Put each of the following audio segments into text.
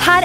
her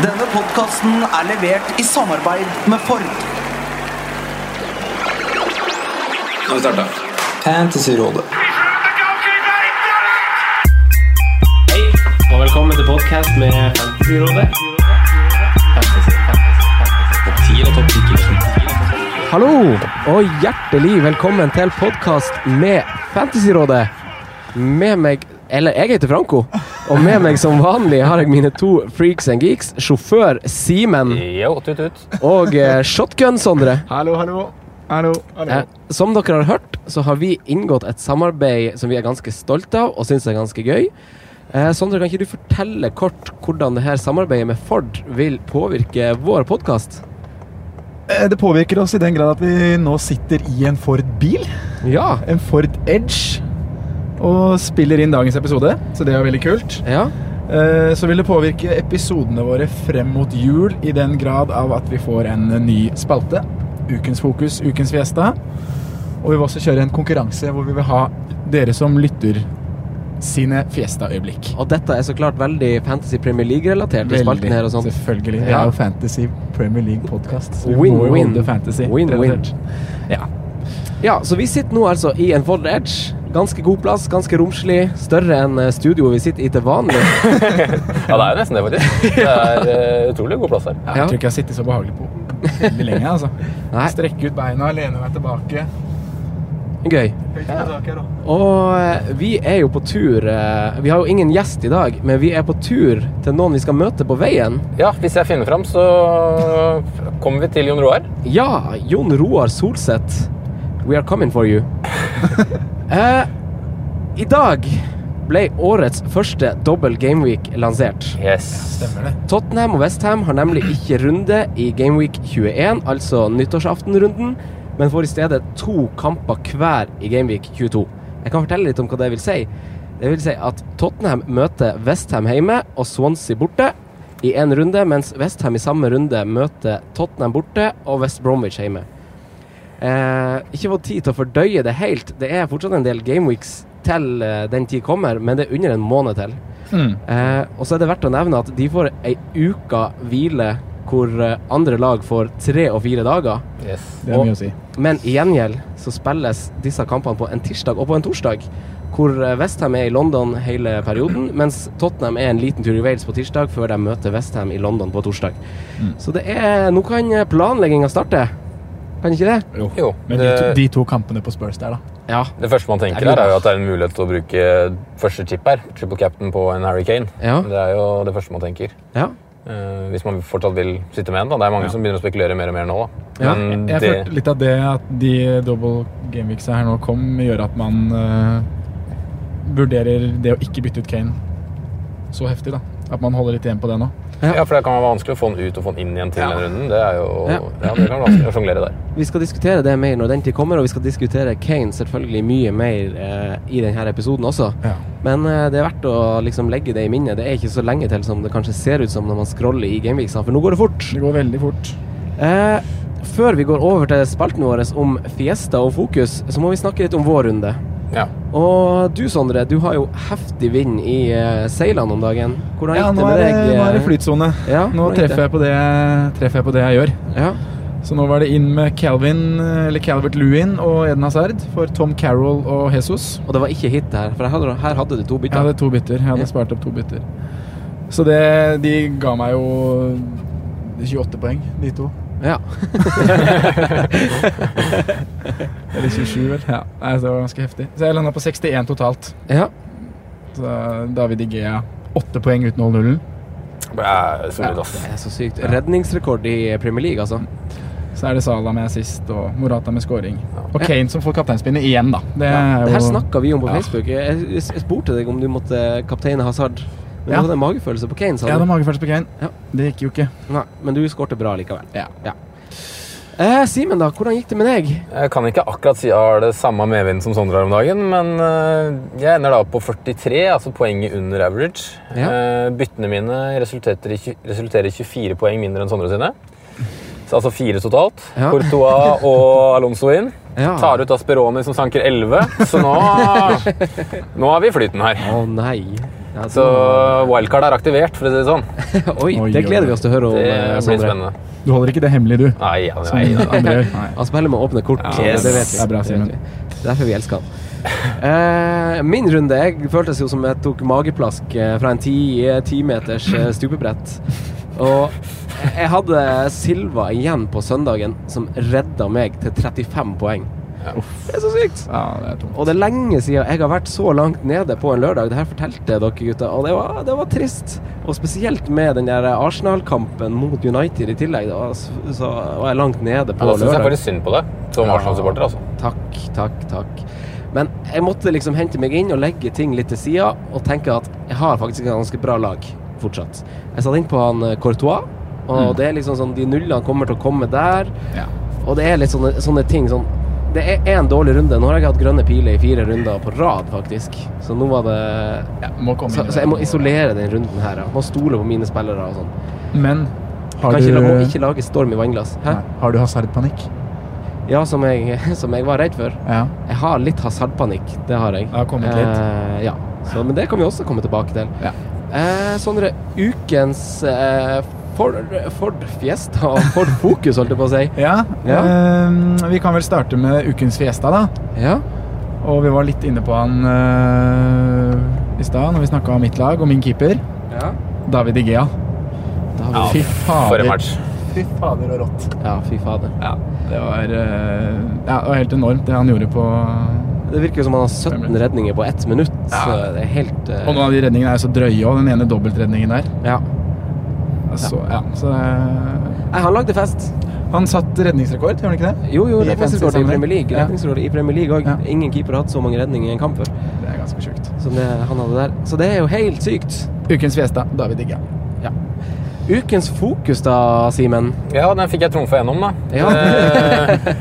Denne podkasten er levert i samarbeid med Ford. Kan vi starte? Fantasyrådet. Hei, og velkommen til podcast med Fantasyrådet. Hallo, og hjertelig velkommen til podcast med Fantasyrådet. Med meg, eller jeg heter Franco, og med meg som vanlig har jeg mine to freaks and geeks, sjåfør Simen og eh, shotgun Sondre. Hallo, hallo. Hallo. Eh, Som dere har hørt, så har vi inngått et samarbeid som vi er ganske stolte av og syns er ganske gøy. Eh, Sondre, kan ikke du fortelle kort hvordan det her samarbeidet med Ford vil påvirke vår podkast? Eh, Det påvirker oss i den grad at vi nå sitter i en Ford-bil, Ja. en Ford Edge, og spiller inn dagens episode, så det er veldig kult. ja. Eh, Så vil det påvirke episodene våre frem mot jul i den grad av at vi får en ny spalte. Ukens fokus, ukens fiesta. Og vi vil også kjøre en konkurranse hvor vi vil ha dere som lytter sine fiesta-øyeblikk. Og dette er så klart veldig Fantasy Premier League-relatert. i spalten her og sånt. Selvfølgelig. Det sånn. Ja. er jo Fantasy Premier League-podkast. så vi må jo Win-win. holde fantasy Win-win. relatert. Ja, så vi sitter nå altså i en Ford Edge. Ganske god plass, ganske romslig. Større enn eh, studioet vi sitter i til vanlig. Ja, det er jo nesten det, faktisk. Det er eh, utrolig god plass her. Ja. Jeg tror ikke jeg har sittet så behagelig på veldig lenge. altså. Nei, Strekke ut beina, lene meg tilbake. gøy. Høyt på taket her, da. Og eh, vi er jo på tur eh, Vi har jo ingen gjest i dag, men vi er på tur til noen vi skal møte på veien. Ja, hvis jeg finner fram, så kommer vi til Jon Roar. Ja, Jon Roar Solseth. We are coming for you. eh, I dag ble årets første dobbel gameweek lansert. Yes. Stemmer det. Tottenham og Westham har nemlig ikke runde i Gameweek 21, altså nyttårsaftenrunden, men får i stedet to kamper hver i Gameweek 22. Jeg kan fortelle litt om hva det vil si. Det vil si at Tottenham møter Westham hjemme og Swansea borte i én runde, mens Westham i samme runde møter Tottenham borte og West Bromwich hjemme. Eh, ikke fått tid til å fordøye det helt. Det er fortsatt en del gameweeks til eh, den tid kommer, men det er under en måned til. Eh, og så er det verdt å nevne at de får ei uke hvile hvor eh, andre lag får tre og fire dager. yes. Det er Og- mye å si. Men i gjengjeld så spilles disse kampene på en tirsdag og på en torsdag. Hvor eh, Westham er i London hele perioden, mens Tottenham er en liten tur i Wales på tirsdag før de møter Westham i London på torsdag. Så det er Nå kan planlegginga starte. Kan ikke det? Jo, Men de det, to, de to kampene på Spurs der, da. Ja. det første man tenker, her er jo at det er en mulighet til å bruke første chip her. Triple captain på en Harry Kane. Ja. Det er jo det første man tenker. ja. Eh, hvis man fortsatt vil sitte med en, da. Det er mange som begynner å spekulere mer og mer nå, da. Ja, Men Jeg det følte litt av det at de double gameweeksa her nå kom, gjør at man eh, vurderer det å ikke bytte ut Kane så heftig, da. At man holder litt igjen på det nå. Ja, for det kan være vanskelig å få den ut og få den inn igjen til den runden. Det er jo Ja. ja. det kan være vanskelig å sjonglere der. Vi skal diskutere det mer når den tid kommer, og vi skal diskutere Kane selvfølgelig mye mer eh, i denne episoden også. Ja. Men eh, det er verdt å liksom legge det i minnet. Det er ikke så lenge til som det kanskje ser ut som når man scroller i Gameweeksa, for nå går det fort. Det går veldig fort. Eh, før vi går over til spalten vår om fiesta og fokus, så må vi snakke litt om vår runde. Ja. Og du Sondre, du har jo heftig vind i eh, seilene om dagen. Hvordan gikk Ja, nå det med er det, deg? nå er det eh? flytsone. Ja, Nå hvordan gikk treffer jeg, på det, treffer jeg på det jeg gjør. det? Ja. Så nå var det inn med Calvin, eller Calvert Lewin og Eden Hazard for Tom Carroll og Jesus. Og det var ikke hit her, for her hadde, her hadde du to Jeg bytter. hadde to bytter. Jeg Ja. hadde spart opp to bytter. Så det, de ga meg jo 28 poeng, de to. Ja. Eller 27, vel. Ja. Nei, så det var ganske heftig. Så jeg landa på 61 totalt. Ja. Så David Igea åtte poeng uten å holde nullen. Det er solid, ass. Det er så sykt. Redningsrekord i Premier League, altså. Så er det Salah med assist og Morata med scoring. Og Kane som får kapteinspinnet igjen, da. Det, er Det her altså. jo- snakka vi om på Eh, Ja. Facebook. Jeg, jeg, jeg spurte deg om du måtte kapteine Hazard. Men Ja. du hadde en magefølelse på Kane, sa Ja, det er du. magefølelse på Kane. Det gikk jo ikke. Nei, men du skårte bra likevel. Ja. Eh, Simen, da. Hvordan gikk det med deg? Jeg kan ikke akkurat si jeg har det samme medvind som Sondre her om dagen, men eh, jeg ender da opp på 43, altså poenget under average. Eh, Byttene mine resulterer i, tju- resulterer i 24 poeng mindre enn Sondre sine. Så altså fire totalt. Ja. Courtois og Alonso inn. Ja. Tar ut Asperoni som sanker 11, så nå, nå er vi i flyten her. Å nei. Ja, Så wildcard er aktivert, for å si det sånn. Oi, Oi, det gleder oi, vi oss til å høre om. eh, Det blir Sondre. spennende. Du holder ikke det hemmelig, du. Nei, ja, Som nei, nei. andre gjør. Nei. Han spiller med åpne kort. Ja, så Det vet vi. det er Det bra, vet Simen. vi. Det er derfor vi elsker han. Eh, min runde jeg føltes jo som jeg tok mageplask eh, fra en ti, ti meters eh, stupebrett. Og jeg hadde Silva igjen på søndagen, som redda meg til 35 poeng. Det er så sykt! Ja, det er tungt. Og det er lenge siden jeg har vært så langt nede på en lørdag. Det her fortalte jeg dere gutter, og det var, det var trist. Og spesielt med den der Arsenal-kampen mot United i tillegg, da, så så var jeg langt nede på Ja, da syns Altså, jeg lørdag. faktisk synd på deg som Arsenal-supporter. altså. Takk, takk, takk. Men jeg måtte liksom hente meg inn og legge ting litt til sida og tenke at jeg har faktisk et ganske bra lag fortsatt. Jeg satte inn på han eh, Courtois, og Mm. det er liksom sånn de nullene kommer til å komme der. Ja. Og det er litt sånne, sånne ting sånn Det er én dårlig runde. Nå har jeg hatt grønne piler i fire runder på rad, faktisk. Så nå var det Ja, må komme så, inn så i det. jeg må isolere den runden her. ja. Må stole på mine spillere og sånn. Men har Kan du, ikke, la- må ikke lage storm i vannglass. Hæ? Nei, har du hasardpanikk? Ja, som jeg, som jeg var redd for. Ja. Jeg har litt hasardpanikk, det har jeg. Det har kommet litt. Eh, ja. Så, men det kan vi også komme tilbake til. Ja. Eh, Sondre, ukens eh, Ford, Ford Fiesta og Ford Focus, holdt jeg på å si. Ja, Ja. ehm, vi kan vel starte med ukens fiesta, da. Ja. Og vi var litt inne på han eh, i stad når vi snakka om mitt lag og min keeper. Ja. David Igea. Da har vi, Fy fader. For en match. Fy fader og rått. ja, fy fader. Det var, eh, ja, det var helt enormt, det han gjorde på Det virker jo som han har 17 redninger på ett minutt. Så det er helt eh, Og noen av de redningene er jo så drøye òg. Den ene dobbeltredningen der. ja. Så, ja. så eh, Nei, han lagde fest. Han satt redningsrekord, gjorde han ikke det? Jo, jo, I redningsrekord i fantasy-sammenheng. Premier League. Ja. Redningsrekord i Premier League òg. Ja. Ingen keeper har hatt så mange redninger i en kamp før Det er ganske sjukt. som det han hadde der. Så det er jo helt sykt. Ukens fiesta, David Igea. Ukens fokus da, Simen. Ja, den fikk jeg trumfa gjennom, da. Ja. Eh,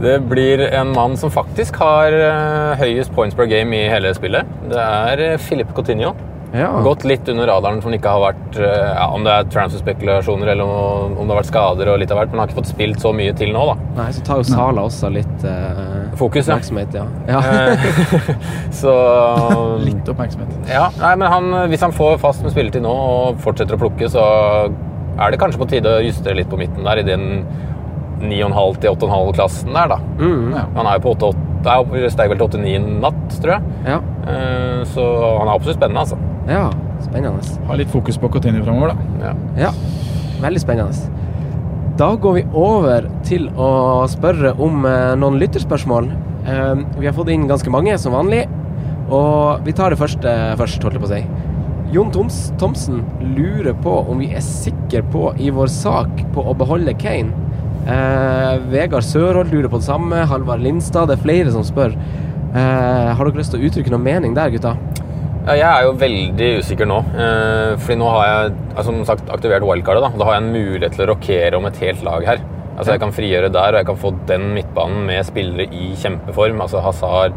Det blir en mann som faktisk har eh, høyest points per game i hele spillet. Det er eh, Philippe Coutinho. Ja. Gått litt under radaren som ikke har vært eh, ja, Om det er transfer-spekulasjoner eller om om det har vært skader og litt av hvert, men han har ikke fått spilt så mye til nå, da. Nei, så tar jo Sala også litt eh, Fokus, ja. oppmerksomhet, ja. ja. Eh, Så um, Litt oppmerksomhet. Ja, nei, men han, hvis han får fast med spilletid nå og fortsetter å plukke, så er det kanskje på tide å justere litt på midten der, i den 9,5 til 8,5-klassen der, da. Mm, Ja. Han er jo på 8,8 det er jo- steg vel til 89 i natt, tror jeg. ja. Eh, Så han er absolutt spennende, altså. ja. Spennende. Ha litt fokus på Coutinho framover, da. Ja. Ja, veldig spennende. Da går vi over til å spørre om eh, noen lytterspørsmål. Eh, vi har fått inn ganske mange, som vanlig. Og vi tar det første eh, først, holdt jeg på å si. Jon Toms Thomsen lurer på om vi er sikre på i vår sak på å beholde Kane. Eh, Vegard Sørholt lurer på det samme. Halvard Lindstad. Det er flere som spør. Eh, har dere lyst til å uttrykke noen mening der, gutta? Ja, Jeg er jo veldig usikker nå. eh, Fordi nå har jeg altså, som sagt, aktivert wildcardet. Da. da har jeg en mulighet til å rokere om et helt lag her. Altså Jeg kan frigjøre der, og jeg kan få den midtbanen med spillere i kjempeform. Altså Hazard,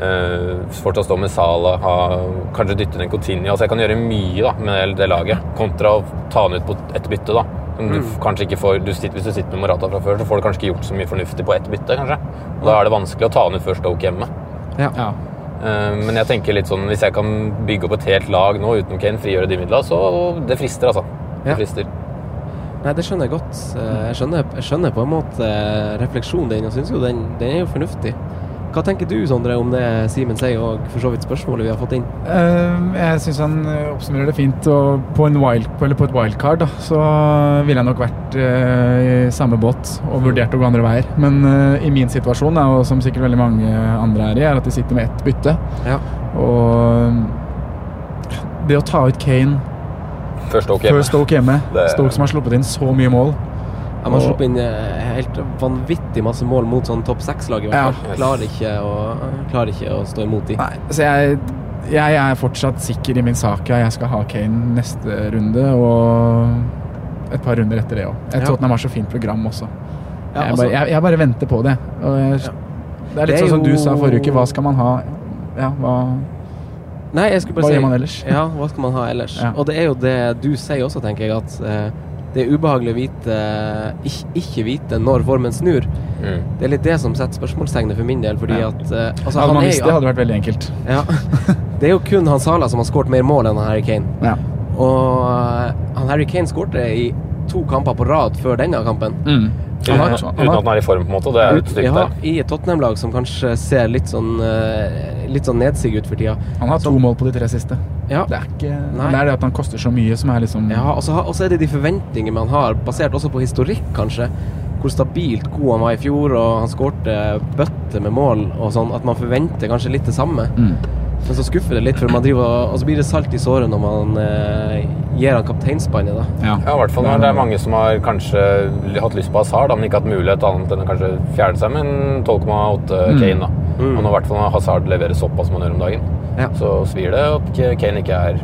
eh, fortsatt stå med Salah, ha, kanskje dytte ned Coutinho. Altså Jeg kan gjøre mye da med det laget, kontra å ta han ut på ett bytte. da Som du f- kanskje ikke får, du sitter, Hvis du sitter med Morata fra før, så får du kanskje ikke gjort så mye fornuftig på ett bytte. kanskje Og Da er det vanskelig å ta han ut før Stoke hjemme. Ja. Eh, Men jeg tenker litt sånn, hvis jeg kan bygge opp et helt lag nå uten Kane, frigjøre de midla, så det frister, altså. Det Ja. frister. Nei, det skjønner jeg godt. Eh, Jeg skjønner, jeg skjønner på en måte eh, refleksjonen din, og syns jo den, den er jo fornuftig. Hva tenker du, Sondre, om det Simen sier, og for så vidt spørsmålet vi har fått inn? Eh, Jeg syns han eh, oppsummerer det fint. Og på, en wild, eller på et wildcard da, så ville jeg nok vært eh, i samme båt og vurdert å gå andre veier. Men eh, i min situasjon, da, og som sikkert veldig mange andre er i, er at de sitter med ett bytte. Og eh, det å ta ut Kane Før Stoke før hjemme. Stoke hjemme Det- Stoke som har sluppet inn så mye mål. De har Og- sluppet inn eh, helt vanvittig masse mål mot sånn topp seks-lag, i hvert fall. Ja. Klarer, ikke å, klarer ikke å stå imot de. Så jeg, jeg er fortsatt sikker i min sak. Ja. Jeg skal ha Kane neste runde og et par runder etter det òg. Ja. Tottenham har så fint program også. Ja, jeg, altså- bare, jeg, jeg bare venter på det. Og jeg, Det er Det litt er sånn som du jo- sa forrige uke. Hva skal man ha? Ja, hva Nei, jeg skulle bare Hva si gjør man ellers? Ja, hva skal man ha ellers? Ja. Og det er jo det du sier også, tenker jeg, at eh, det er ubehagelig å vite ikke, ikke vite når formen snur. Mm. Det er litt det som setter spørsmålstegnet for min del, fordi Ja. at eh, altså, Hadde han man er visst jo- det, hadde det vært veldig enkelt. Ja. Det er jo kun han Sala som har skåret mer mål enn han Harry Kane. Ja. Og eh, han Harry Kane skårte i to kamper på rad før denne kampen. Mm. Mm. Uten, uten at den er i form, på en måte. Det er jo et stygt Ja, der. i et Tottenham-lag som kanskje ser litt sånn eh, Litt sånn nedsig ut for tida. Han har to mål på de tre siste. Ja. Det er ikke Nei. men Det er det at han koster så mye som er liksom Ja, og så har- og så er det de forventninger man har, basert også på historikk, kanskje. Hvor stabilt god han var i fjor, og han skårte bøtte med mål og sånn. At man forventer kanskje litt det samme. Mm. Men så skuffer det litt, for man driver og og så blir det salt i såret når man eh, gir han kapteinsbåndet, da. Ja, i hvert fall når det er mange som har kanskje hatt lyst på Hazard, da, men ikke hatt mulighet annet enn å kanskje fjerne seg med en 12,8 Mm. Kane. da. Og når i hvert fall når Hazard leverer såpass som han gjør om dagen, så svir det at K- Kane ikke er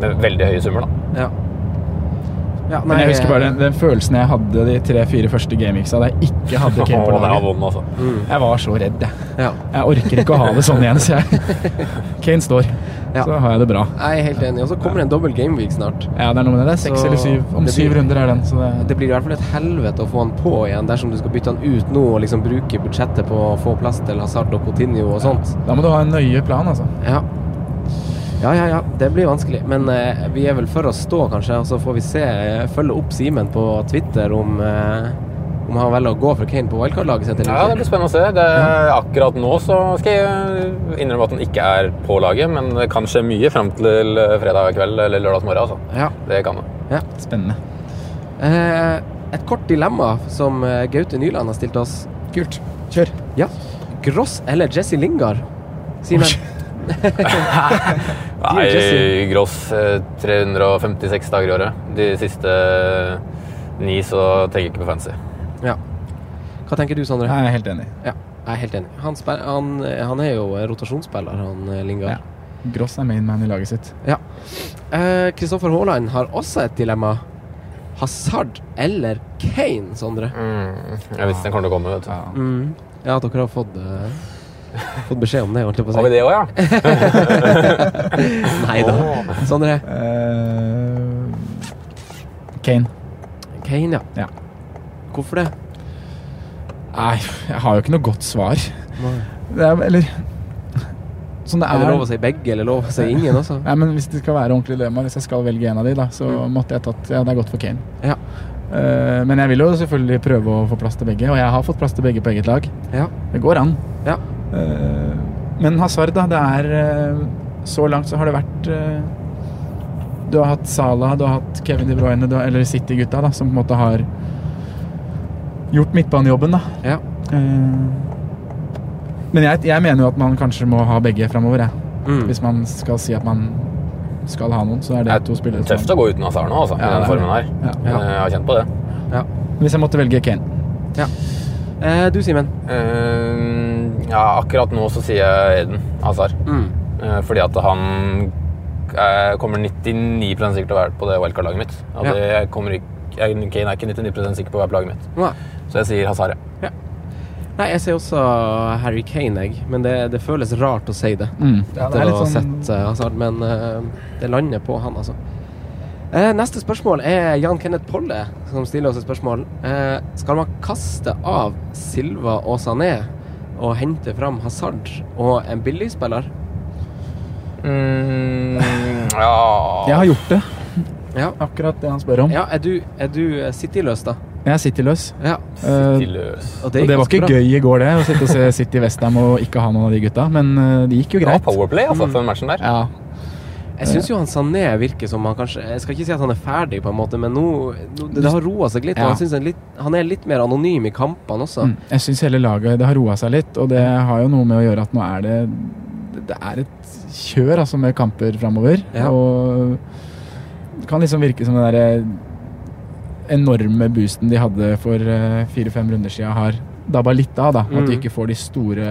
med veldig høye summer. da. Ja. Men jeg husker bare den, den følelsen jeg hadde de tre-fire første gameweeksa da jeg ikke hadde Kane på Åh, det laget. var vond, altså. Jeg var så redd, jeg. Ja. Jeg orker ikke å ha det sånn igjen, så jeg Kane står. Så har jeg det bra. Jeg er helt enig. Og så kommer det en dobbel gameweek snart. Ja, det er noe med det. det er Seks Så eller syv. Om det syv blir- runder er den, så det Det blir i hvert fall et helvete å få han på igjen dersom du skal bytte han ut nå og liksom bruke budsjettet på å få plass til Hazard og Coutinho og sånt. Da må du ha en nøye plan, altså. Ja. Ja, ja, ja. Det blir vanskelig. Men eh, vi er vel for å stå, kanskje. Og så får vi se. eh, Følge opp Simen på Twitter om, eh, om han velger å gå for Kane på wildcard-laget sitt Ja, eller det ikke. blir spennende å se. Det, akkurat nå så skal jeg innrømme at den ikke er på laget, men det kan skje mye frem til fredag kveld eller lørdag morgen. Altså. Ja. Det kan det. Ja. Spennende. Eh, et kort dilemma som eh, Gaute Nyland har stilt oss. Kult. Kjør. Ja. Gross eller Jesse Lingard? Simen? Nei, Gross eh, 356 dager i året. De siste eh, ni så tenker jeg ikke på fancy. Ja. Hva tenker du, Sondre? Jeg er helt enig. Ja, jeg er helt enig. Han, spill- han, eh, han er jo rotasjonsspiller, han eh, Lingard. Gross er main man i laget sitt. Ja. Eh, Kristoffer Haaland har også et dilemma. Hazard eller Kane, Sondre? Mm. Jeg visste den kommer til å komme, vet du. Mm. Ja, dere har fått, eh, fått beskjed om det, holdt jeg på å si. Har vi det òg, ja? Nei da. Sondre? Eh, Kane. Kane, ja. Ja. Hvorfor det? Nei, jeg har jo ikke noe godt svar. Nei. Det er, eller Sånn det Er det er lov å si begge, eller lov å si ingen også? Nei, men Hvis det skal være ordentlig dilemma, hvis jeg skal velge en av de, da, så måtte jeg tatt Ja, det er godt for Kane. Mm. Ja. Eh, men jeg vil jo selvfølgelig prøve å få plass til begge, og jeg har fått plass til begge på eget lag. Ja. Det går an. Ja. Eh, men Hazard, da. Det er eh, Så langt så har det vært eh, Du har hatt Salah, du har hatt Kevin De Bruyne, du har, eller City-gutta, da, som på en måte har gjort midtbanejobben, da. Ja. Eh, men jeg, jeg mener jo at man kanskje må ha begge framover, jeg. Mm. Hvis man skal si at man skal ha noen, så er det Det er to spillere. som- Tøft å gå uten Hazard nå, altså, i Ja, den det er det. formen her. Ja. Eh, Jeg har kjent på det. Hvis jeg måtte velge Kane. Eh, du, Simen? Eh, ja, akkurat nå så sier jeg Eden Hazard. Mm. Eh, Fordi at han eh, kommer 99 sikkert til å være på det wildcard-laget mitt. At Ja. jeg kommer ikke, jeg, Kane er ikke 99 sikker på å være på laget mitt. Nei. Så jeg sier Hazard, ja. Nei, jeg sier også Harry Kane, jeg. Men det, det føles rart å si det. Ja, det etter er å litt ha sånn sett eh, Hazard, men eh, det lander på han, altså. Eh, neste spørsmål er Jan Kenneth Polle som stiller oss et spørsmål. Eh, skal man kaste av Silva og Sané og hente fram Hazard og en billigspiller? Mm, ja Jeg har gjort det. Ja. Akkurat det han spør om. ja, er du, er du eh, City-løs, da? Jeg er City-løs. Ja. Eh, City-løs. Og det, og det var ikke gøy i går, det, å sitte og se City Westham og ikke ha noen av de gutta, men eh, det gikk jo Bra greit. powerplay altså, for den matchen der. Ja. Jeg syns jo han Sané virker som han kanskje Jeg skal ikke si at han er ferdig, på en måte, men nå, nå det, det har roa seg litt. Ja. Og jeg synes han, litt, han er litt mer anonym i kampene også. Mm. Jeg syns hele laget det har roa seg litt, og det har jo noe med å gjøre at nå er det Det er et kjør altså med kamper framover. Ja. Og det kan liksom virke som den derre enorme boosten de hadde for eh, fire-fem runder siden, har dabba litt av. da At de Mm. ikke får de store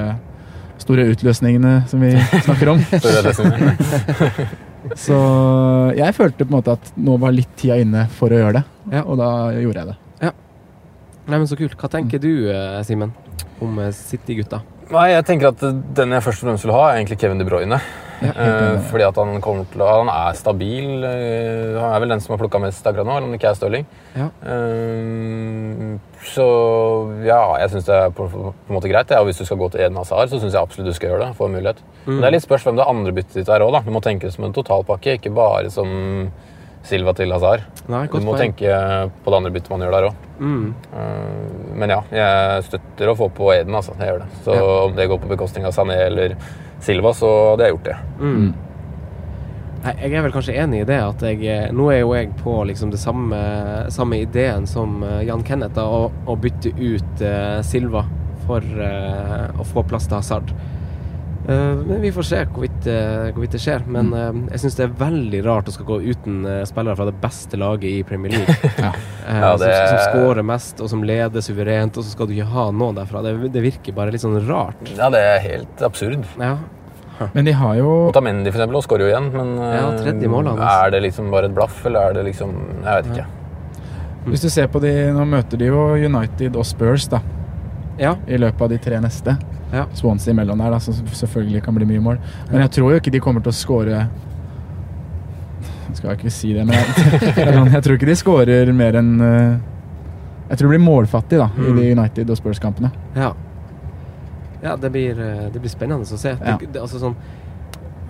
Store utløsningene som vi snakker om. Så det er det som er. Så jeg følte på en måte at nå var litt tida inne for å gjøre det, Ja. og da gjorde jeg det. Nei, men så kult. Hva tenker du, eh, Simen, om eh, City-gutta? Nei, jeg tenker at den jeg først og fremst vil ha, er egentlig Kevin De Bruyne. Ja, helt Eh, enig. fordi at han kommer til å Han er stabil. eh, han er vel den som har plukka mest akkurat nå, eller om det ikke er Stirling. Ja. Eh, så ja, jeg syns det er på, på en måte greit. Ja. Og hvis du skal gå til Eden Hazard, så syns jeg absolutt du skal gjøre det. Få en mulighet. Mm. Men det er litt spørs hvem det andre byttet ditt er òg, da. Du må tenke det som en totalpakke, ikke bare som Silva til Hazard. Nei, Du godt må poeng. tenke på det andre byttet man gjør der òg. Mm. Eh, Men ja, jeg støtter å få på Eden, altså. Jeg gjør det. Så Ja. om det går på bekostning av Sané eller Silva, så hadde jeg gjort det. Mm. Nei, jeg er vel kanskje enig i det at jeg eh, Nå er jo jeg på liksom det samme, samme ideen som eh, Jan Kenneth, da, å, å bytte ut eh, Silva for eh, å få plass til Hazard. Eh, men vi får se hvorvidt, eh, hvorvidt det skjer. Men Mm. eh, jeg syns det er veldig rart å skal gå uten eh, spillere fra det beste laget i Premier League. Ja. Eh, Ja, det- som, som scorer mest, og som leder suverent, og så skal du ikke ha noen derfra. Det, det virker bare litt sånn rart. Ja, det er helt absurd. Ja. Men de har jo Otamendi for eksempel, og skårer jo igjen, men eh, Ja, tredje mål hans. er det liksom bare et blaff, eller er det liksom Jeg vet ikke. Mm. Hvis du ser på de, Nå møter de jo United og Spurs da Ja. i løpet av de tre neste. Ja. Swansea imellom der, da, som selvfølgelig kan bli mye mål. Men jeg tror jo ikke de kommer til å score Skal jeg ikke si det, men jeg, jeg tror ikke de scorer mer enn eh, Jeg tror det blir målfattig da i Mm. de United og Spurs-kampene. Ja. Ja, det blir, eh, det blir spennende å se. Ja. Det, det, altså sånn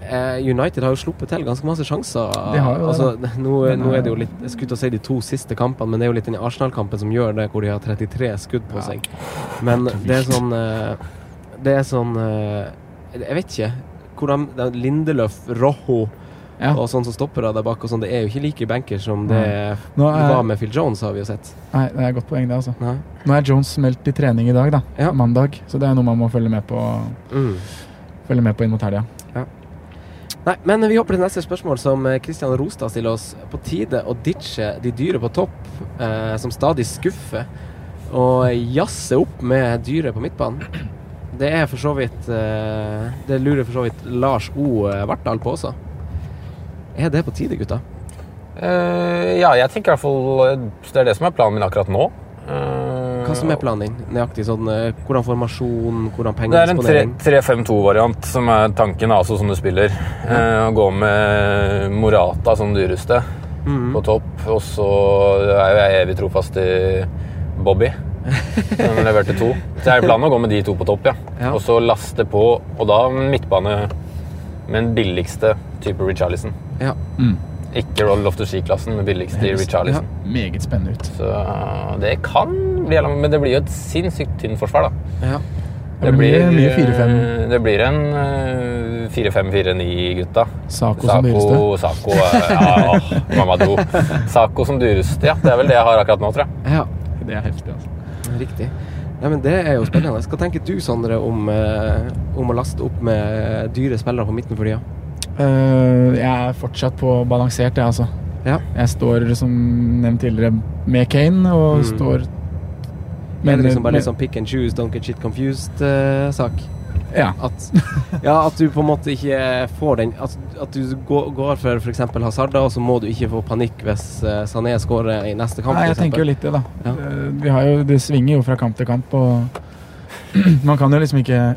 eh, United har jo sluppet til ganske masse sjanser. De har jo det, altså, nå, Men, nå eh, er det jo litt Jeg skulle til å si de to siste kampene, men det er jo litt den Arsenal-kampen som gjør det, hvor de har 33 skudd på seg. Men det er sånn eh, Det er sånn eh, Jeg vet ikke. Hvor de, det er Lindeløf, Rojo Ja. og sånn som stopper der bak og sånn, det er jo ikke like banker som det Nå er- var med Phil Jones, har vi jo sett. Nei, det er et godt poeng, det. altså Nei. Nå er Jones meldt i trening i dag, da Ja. mandag, så det er noe man må følge med på, Mm. følge med på inn mot helga. Nei, men vi hopper til neste spørsmål som eh, Christian Rostad stiller oss. På tide å ditche de dyre på topp, eh, som stadig skuffer, og jazze opp med dyre på midtbanen. Det er for så vidt eh, Det lurer for så vidt Lars O. eh, Vartdal på også. Er det på tide, gutta? Eh, ja, jeg tenker i hvert fall eh, Det er det som er planen min akkurat nå. Eh, Hva som er planen din? Nøyaktig sånn eh, hvordan formasjon, hvordan Det er en pengedisponering? 3-5-2-variant som er tanken, altså, som du spiller. Eh, å gå med Morata som dyreste Mhm. på topp. Og så er jo jeg evig trofast til Bobby, som leverte to. Så jeg er planen å gå med de to på topp, ja. Ja. Og så laste på, og da midtbane med den billigste type Richarlison. Ja. Mm. Ikke Roll of the Sea-klassen, men billigste Richarlison. Meget spennende ut. Så eh, det kan bli Men det blir jo et sinnssykt tynt forsvar, da. Ja. Det blir mye 4-5. eh, Det blir en eh, 4-5-4-9-gutta. Sako som dyreste. Sako, eh, ja, åh, Mamadou. Sako som dyreste, ja. Det er vel det jeg har akkurat nå, tror jeg. ja. Det er heftig, altså. Riktig. Nei, men Det er jo spennende. Hva tenker du, Sondre, om, eh, om å laste opp med dyre spillere på midten for tida? Eh, jeg er fortsatt på balansert, jeg, altså. Ja. Jeg står, som nevnt tidligere, med Kane og står er Mm. det liksom bare men- litt sånn pick and choose, don't get shit confused-sak? Ja. at, ja, at du på en måte ikke får den At, at du går, går for f.eks. Hazarda, og så må du ikke få panikk hvis eh, Sané skårer i neste kamp. Nei, jeg for eksempel. tenker jo litt det, da. Ja. Eh, vi har jo, det svinger jo fra kamp til kamp, og man kan jo liksom ikke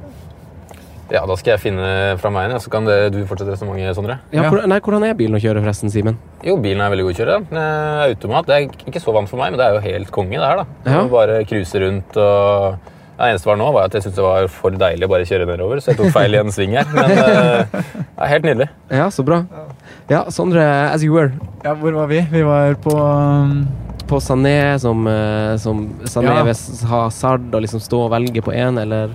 Ja, Da skal jeg finne fra meg en, ja, så kan det, du fortsette resonnementet, Sondre. ja, Ja. hvor, nei, hvordan er bilen å kjøre, forresten, Simen? Jo, bilen er veldig god å kjøre. den. Eh, Automat. Det er ikke så vant for meg, men det er jo helt konge, det her, da. Ja. Du Bare cruise rundt og det eneste var nå, var at jeg syntes det var for deilig å bare kjøre nedover, så jeg tok feil i en sving her. Men eh, det er helt nydelig. Ja, så bra. Ja, Sondre, as you were. Ja, hvor var vi? Vi var på um, på Sané, som, eh, som Sané Ja. ved S- Hazard, og liksom stå og velge på én, eller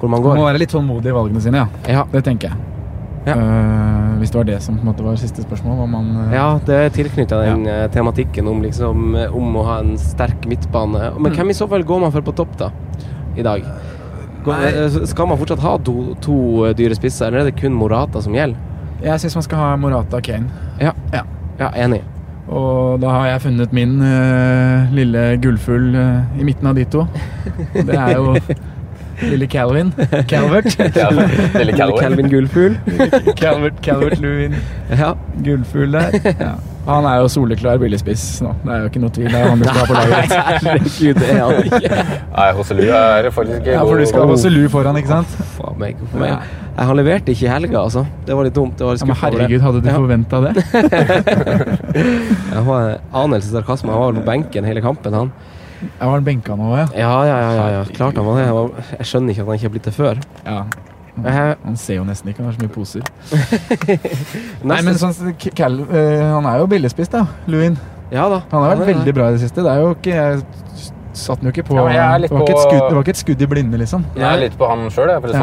hvor man går. Man må være litt tålmodig i valgene sine, ja. Det tenker jeg. Eh, hvis det var det som på en måte var siste spørsmål, om man eh, Ja, det er tilknytta den eh, tematikken om, liksom, eh, om å ha en sterk midtbane. Men Mm. hvem i så fall går man for på topp, da? I dag? Går- Nei. eh, Skal man fortsatt ha to, to eh, dyre spisser, eller er det kun Morata som gjelder? Jeg syns man skal ha Morata og Kane. Ja. enig. Og da har jeg funnet min eh, lille gullfugl eh, i midten av de to. Det er jo lille Calvin. Calvert. Ja, lille Calvin. Calvin Gullfugl. Calvert, Calvert Lewin. Ja. Gullfugl der. Ja. Han er jo soleklar billigspiss nå. Det er jo ikke noe tvil. Det er han du skal ha på laget. Herregud, det er han ikke. Nei, Hosselu er faktisk ikke Ja, for du skal ha Vasselu foran, ikke sant? Faen meg. hvorfor meg? Jeg han leverte ikke i helga, altså. Det var litt dumt. Det var litt Ja, men skuffet over det. herregud, hadde du Ja. forventa det? Jeg har en anelse sarkasme. Han var vel på benken hele kampen, han. Jeg var benka nå, ja. Ja, ja, ja. ja, ja. Klart han var det. Jeg var- Jeg skjønner ikke at han ikke har blitt det før. ja. Jeg- Han ser jo nesten ikke, han har så mye poser. Nei, Neste- men sånn, som K- Cal, eh, Han er jo billigspist, da. Lewin. Ja da. Han har Ja, vært ja. veldig bra i det siste. Det er jo ikke Jeg s- satte den jo ikke på Ja, men jeg er litt det, var på- ikke et skudd, det var ikke et skudd i blinde, liksom. Jeg er litt på han sjøl, for Ja.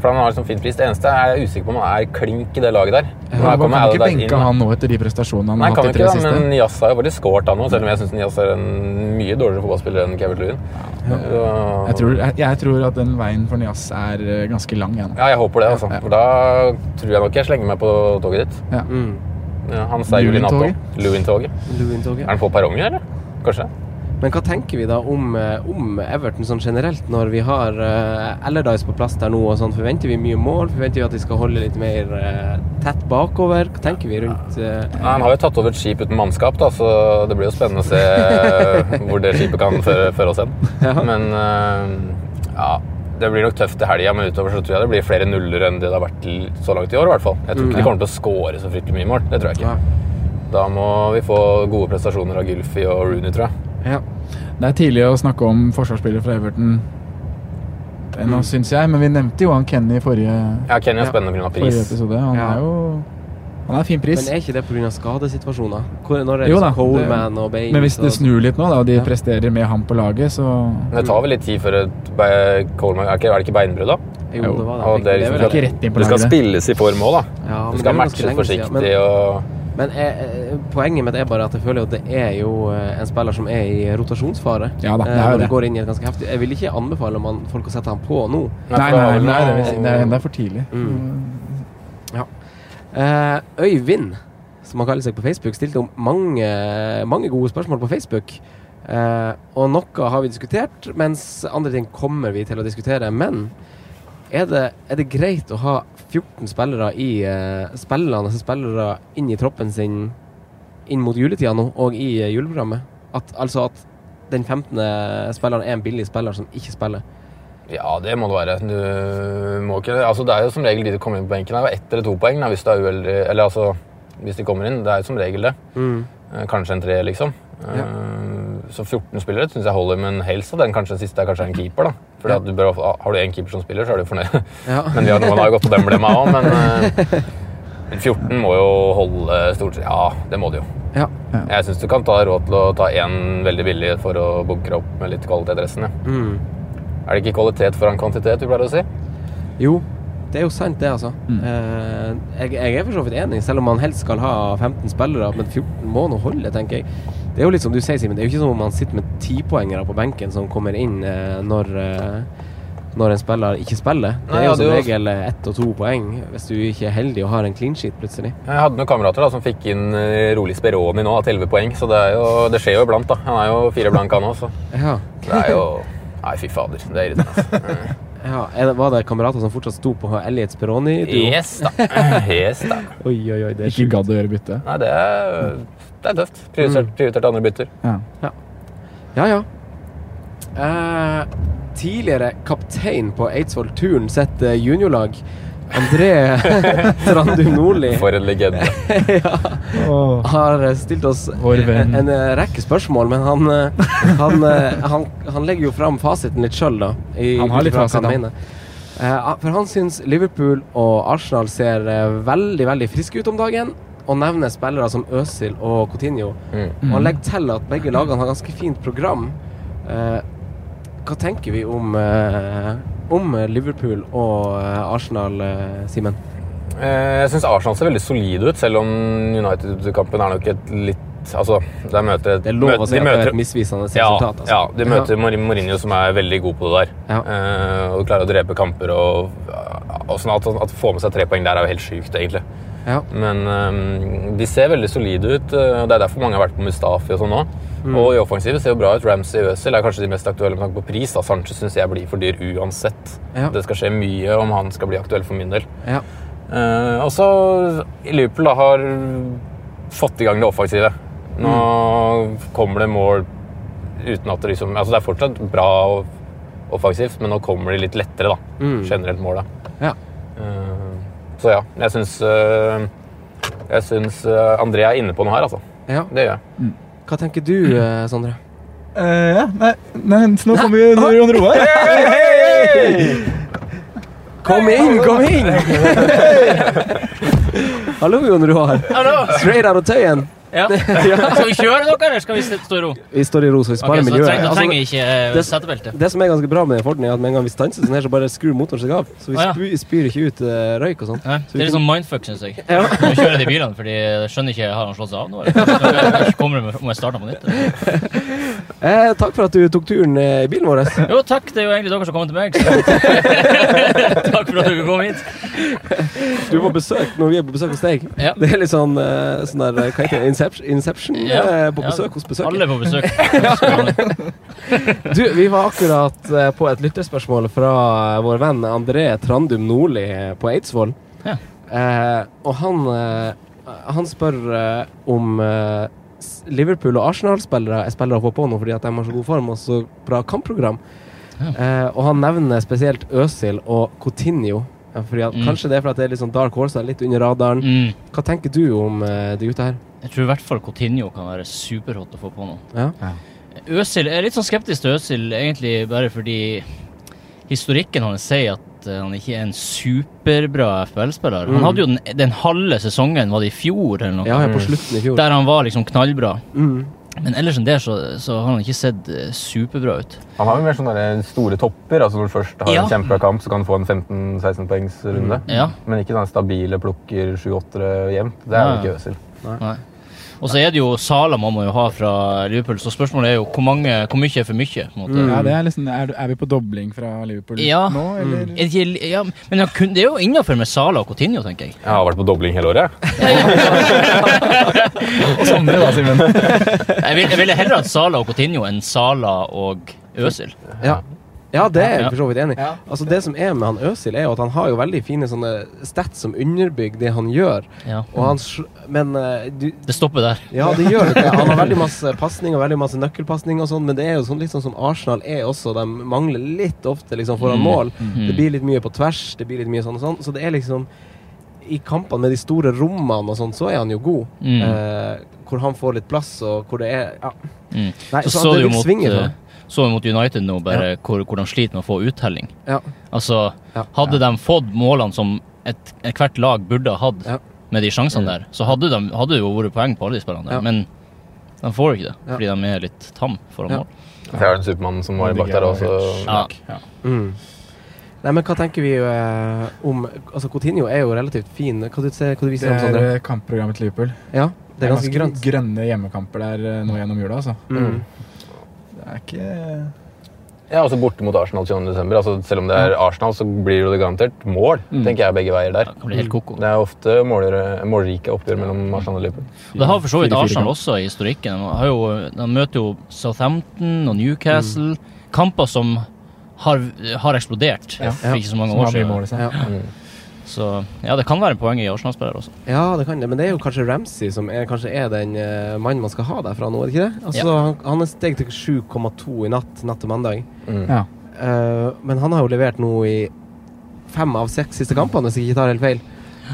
han har liksom fin pris. Det eneste er jeg usikker på om han er klink i det laget der. Nå Man kommer kan ikke Allardyce inn, benke da. han nå etter de prestasjonene han Nei, har kan vi hatt de ikke tre da, siste. men Nias har jo faktisk skåret han nå, selv om jeg syns Nias er en mye dårligere fotballspiller enn Kevin Lewin. Så- Jeg tror, jeg, jeg tror at den veien for Nias er eh, ganske lang. Jeg, nå. Ja, jeg håper det, altså. For da tror jeg nok jeg slenger meg på toget ditt. Ja. Mm. Ja, han sier Julin Atto. Lewin-toget? Lewin-toget. Lewin-toget. Er han på perrongen, eller? Kanskje? Men hva tenker vi da om, eh, om Everton sånn generelt, når vi har uh, Allardyce på plass der nå og sånn? Forventer vi mye mål? Forventer vi at vi skal holde litt mer eh, tett bakover? Hva tenker vi rundt eh, Nei, han har jo tatt over et skip uten mannskap, da, så det blir jo spennende å se eh, hvor det skipet kan føre, føre oss hen. Men eh, ja, det blir nok tøft i helga, men utover så tror jeg det blir flere nuller enn det det har vært til så langt i år. I hvert fall. Jeg tror ikke Mm. de kommer til å score så fryktelig mye mål. Det tror jeg ikke. Da må vi få gode prestasjoner av Gylfi og Rooney, tror jeg. Det er tidlig å snakke om forsvarsspillere fra Everton ennå, Mm. syns jeg. Men vi nevnte jo han Kenny i forrige, Ja, Kenny er spennende pga. forrige pris. episode. Han Ja. er jo Han er fin pris. Men er ikke det pga. skadesituasjoner? Hvor, når det er Jo liksom da, Coleman og Baines Men hvis det og- snur litt nå, da, og de Ja. presterer med ham på laget, så Men det tar vel litt tid før et be- Coleman Er ikke- er det ikke beinbrudd, da? Jo, det var det. Og det er liksom vel- Ikke rett inn på Det skal laget. spilles i form òg, Ja, da. men Du det er skal jo ganske matche lenge siden. Men- forsiktig og Men jeg, eh, poenget mitt er bare at jeg føler jo at det er jo eh, en spiller som er i rotasjonsfare. Ja da, det er Eh, når jo det. går inn i et ganske heftig Jeg vil ikke anbefale man, folk å sette han på nå. Nei, nei, nei, for Mm. da har det, vi vil si- noe- det er enda for tidlig. Eh, Øyvind, som han kaller seg på Facebook, stilte om mange, mange gode spørsmål på Facebook. Eh, og noe har vi diskutert, mens andre ting kommer vi til å diskutere. Men er det, er det greit å ha 14 spillere i eh, spillene, altså spillere inn i troppen sin inn mot juletida nå, og i eh, juleprogrammet? At, altså at den 15. spilleren er en billig spiller som ikke spiller. Ja, det må det være. Du må ikke Altså, det er jo som regel de som kommer inn på benken. Det er jo ett eller to poeng da, hvis du er uheldig Eller altså, hvis de kommer inn. Det er jo som regel det. Mm. Eh, Kanskje en tre, liksom. Eh, Så 14 spillere syns jeg holder, men helst at den kanskje den siste er kanskje en keeper. da. Fordi at du bør, Har du én keeper som spiller, så er du fornøyd. Ja. Men vi har noen har jo gått på den blemma òg, men eh, men 14 må jo holde stort sett Ja, det må det jo. Ja. Jeg syns du kan ta råd til å ta én veldig billig for å bunkre opp med litt kvalitet i resten. Ja. Mm. Er det ikke kvalitet foran kvantitet, du pleier å si? Jo, det er jo sant det, altså. Eh, jeg, jeg er for så vidt enig, selv om man helst skal ha 15 spillere. Men 14 må nå holde, tenker jeg. Det er jo litt som du sier, Simen. Det er jo ikke som om man sitter med tipoengere på benken som kommer inn eh, når, eh, når en spiller ikke spiller. Det Nei, er ja, jo som det er jo- regel eh, ett og to poeng hvis du ikke er heldig og har en clean sheet plutselig. Jeg hadde noen kamerater da, som fikk inn eh, Rolig Speroni nå da, til 11 poeng, så det, er jo, det skjer jo iblant. da. Han er jo fire blank, han òg, så Ja. det er jo Nei, fy fader. Det er irriterende. altså. ja. Er det- Var det kamerater som fortsatt sto på Elliot Speroni? Yes, da. Yes, da. Oi, oi, oi. Det er Ikke gadd å gjøre bytte. Nei, det er, det er tøft. Prioritert, prioritert andre bytter. Ja. Ja, ja. Eh, tidligere kaptein på Eidsvoll Turn sitt eh, juniorlag, André Trandum Nordli, For en legende. har eh, stilt oss Vår venn. en eh, rekke spørsmål, men han, eh, han, eh, han, han legger jo fram fasiten litt sjøl, da. i- Han har litt ut ifra hva fasit, han han. mener. Eh, for han syns Liverpool og Arsenal ser eh, veldig, veldig friske ut om dagen. og nevner spillere som Øsil og Coutinho. Mm. Og han legger til at begge lagene har ganske fint program. Eh, hva tenker vi om, eh, om Liverpool og eh, Arsenal, eh, Simen? Eh, Jeg syns Arsenal ser veldig solide ut, selv om United-kampen er nok et litt Altså, de møter et, Det er lov møter- å si de at det er møter- et misvisende ja, resultat. altså. Ja, de møter Mourin- Mourinho, som er veldig god på det der. Eh, og klarer å drepe kamper og, og sånn at, at få med seg tre poeng der er jo helt sjukt, egentlig. Ja. Men eh, de ser veldig solide ut. eh, og Det er derfor mange har vært på Mustafi og sånn nå. Mm. Og i offensivet ser jo bra ut. Ramsey og Øzil er kanskje de mest aktuelle med tanke på pris. Da. Sanchez syns jeg blir for dyr uansett. Ja. Det skal skje mye om han skal bli aktuell for min del. Ja. Eh, og så Liverpool da, har fått i gang det offensive. Nå Mm. kommer det mål uten at det liksom Altså det er fortsatt bra og offensivt, men nå kommer de litt lettere, da. Mm. Generelt mål, da. Ja. Eh, så ja, jeg syns eh, Jeg syns eh, André er inne på noe her, altså. Ja. Det gjør jeg. Hva tenker du, eh, Sondre? Eh, ja, nei, nei, så nå kommer jo Ah! Jon Roar. Kom inn, kom inn! Hallo, Jon Roar. Hallo. Straight out of tøyen. Ja. Skal vi kjøre dere, eller skal vi st- stå i ro? Vi står i ro, så vi Ok, sparer så da miljøet. treng- da Altså, trenger vi ikke, eh, det- setebelte. Det som er ganske bra med Forden, er at med en gang vi stanser sånn her, så bare skrur motoren seg av. Så vi Å, ja. spyr, spyr ikke ut eh, røyk og sånn. Det er litt sånn mindfuck, syns jeg. Ja. Nå kjører de bilene, fordi jeg skjønner ikke Har han slått seg av nå? eller? Så Kommer de med, må jeg starte på nytt? eller? eh, takk for at du tok turen eh, i bilen vår. Jo, takk. Det er jo egentlig dere som kommer til meg. så. takk for at dere kom hit. Du var på besøk når vi er på besøk hos deg. Ja. Det er litt sånn, eh, sånn der, eh, hva heter det, Inception? Inception eh, på besøk hos besøk. Alle er på besøk. Du, vi var akkurat eh, på et lytterspørsmål fra eh, vår venn André Trandum Nordli eh, på Eidsvoll. Ja. Eh, og han, eh, han spør eh, om eh, s- Liverpool og Arsenal-spillere er spillere å få på nå fordi at de har så god form og så bra kampprogram. Eh, og han nevner spesielt Øsil og Coutinho. eh, Fordi at, Mm. Kanskje det er fordi at det er litt sånn dark horse, litt under radaren. Mm. Hva tenker du om eh, de gutta her? Jeg tror i hvert fall Coutinho kan være superhot å få på nå. Ja. Øsil, jeg er litt sånn skeptisk til Øsil, egentlig bare fordi historikken hans sier at eh, han ikke er en superbra FBL-spiller. Mm. Han hadde jo den, den halve sesongen, var det i fjor eller noe? Ja, ja, på slutten i fjor. Der han var liksom knallbra. Mm. Men ellers enn det så, så har han ikke sett eh, superbra ut. Han har jo mer sånne der store topper. altså Når du først har Ja. en kjempebra kamp, så kan du få en 15-16 poengs runde. Mm. Ja. Men ikke sånne stabile plukker 7-8 jevnt. Det er jo Nei. ikke Øzil. Nei. Og så er det jo Sala man må jo ha fra Liverpool, så spørsmålet er jo hvor, mange, hvor mye er for mye? På en måte. Ja, det er, liksom, er, du- er vi på dobling fra Liverpool Ja. nå, eller? Er det ikke- ja, men han kun, det er jo innafor med Sala og Coutinho, tenker jeg. Jeg har vært på dobling hele året. jeg. Sondre da, Simen. Jeg vil- jeg ville heller hatt Sala og Coutinho enn Sala og Øsil. Ja. Ja, det er jeg Ja. for så vidt enig i. Altså, det som er med han Øsil, er jo at han har jo veldig fine sånne stats som underbygger det han gjør. Ja. Og han, sl- men eh, du, Det stopper der. ja, det gjør det. Han har veldig masse pasning og veldig masse nøkkelpasning og sånn, men det er jo sånn, litt sånn som Arsenal er også. De mangler litt ofte liksom foran Mm. mål. Mhm. Det blir litt mye på tvers, det blir litt mye sånn og sånn. Så det er liksom I kampene med de store rommene og sånn, så er han jo god. Mm. Eh, hvor han får litt plass, og hvor det er Ja. Mm. Nei, så så så du det jo vil mot, svinge for eh, han. så vi mot United nå, bare hvor, hvor de sliter med å få uttelling. Ja. Altså, hadde de fått målene som et, et hvert lag burde ha hatt med de sjansene der, så hadde de hadde det jo vært poeng på alle de spillene der, Ja. men de får ikke det, fordi de er litt tam foran Ja. mål. Så er det en Supermann som var bak der også. Ja. Mm. Nei, men hva tenker vi eh, om Altså, Coutinho er jo relativt fin. Hva, du, ser- hva du Det viser du om, er Sondre? eh, kampprogrammet til Liverpool. Ja, det er ganske grønt. grønne hjemmekamper der eh, nå gjennom jula, altså. Mm. Det er ikke Ja, også borte mot Arsenal 22. desember. Altså, selv om det er Arsenal, så blir det garantert mål, Mm. tenker jeg, begge veier der. blir helt koko. Det er ofte målere- målrike oppgjør mellom Arsenal og Liverpool. Og det har for så vidt Arsenal også i historikken. De, har jo, de møter jo Southampton og Newcastle. Mm. Kamper som har, har eksplodert Ja. eh, for ikke så mange Som år har mye siden. liksom. mål i seg. Ja. Mm. Så ja, det kan være poeng i Arsenal-spillere også. Ja, det kan det, men det er jo kanskje Ramsey som er, kanskje er den eh, mannen man skal ha derfra nå, er det ikke det? Altså, Ja. han, han er steg til 7,2 i natt, natt til mandag. Mm. Ja. Eh, men han har jo levert nå i fem av seks siste kampene, hvis jeg ikke tar helt feil.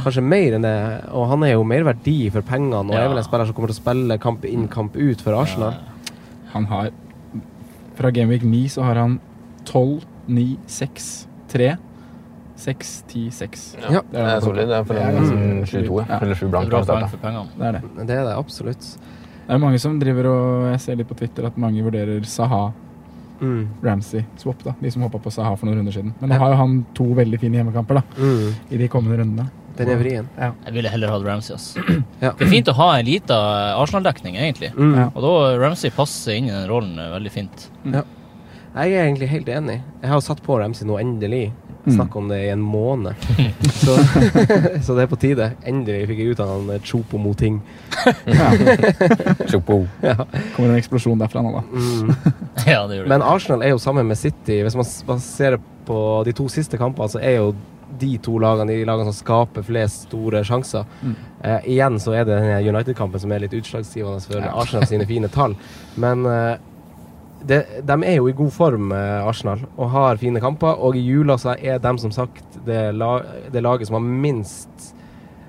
Kanskje mer enn det, og han er jo mer verdi for pengene, og er vel en spiller som kommer til å spille kamp inn, kamp ut for Arsenal. Han har Fra Gameweek 9 så har han 12, 9, 6, 3 6, 10, 6. Ja, det er solid. Det er for en som 22, ja. Eller 7 blank Bra har startet. poeng for pengene. Det er det. Det er det absolutt. Det er mange som driver og Jeg ser litt på Twitter at mange vurderer Saha. Mm. Ramsey swap, da. De som hoppa på Saha for noen runder siden. Men nå har jo han to veldig fine hjemmekamper, da. Mm. I de kommende rundene. Den er vrien. Ja. Jeg ville heller hatt Ramsey, ass. Det er fint å ha en lita Arsenal-dekning, egentlig. Mm. Ja. Og da eh, Ramsey passer inn i den rollen eh, veldig fint. Ja. Jeg er egentlig helt enig. Jeg har jo satt på Ramsey nå, endelig. Jeg snakket om det i en måned. Så, så det er på tide. Endelig fikk jeg ut av han eh, Chopo Moting. Chopo. Ja. Kommer en eksplosjon derfra nå, da. Ja, det gjør det. Men Arsenal er jo sammen med City. Hvis man s- baserer på de to siste kampene, så er jo de to lagene de lagene som skaper flest store sjanser. Mm. Eh, igjen så er det denne United-kampen som er litt utslagsgivende for Ja. Arsenal sine fine tall. Men eh, det, de er jo i god form, eh, Arsenal, og har fine kamper. Og i jula så er de som sagt det, la, det laget som har minst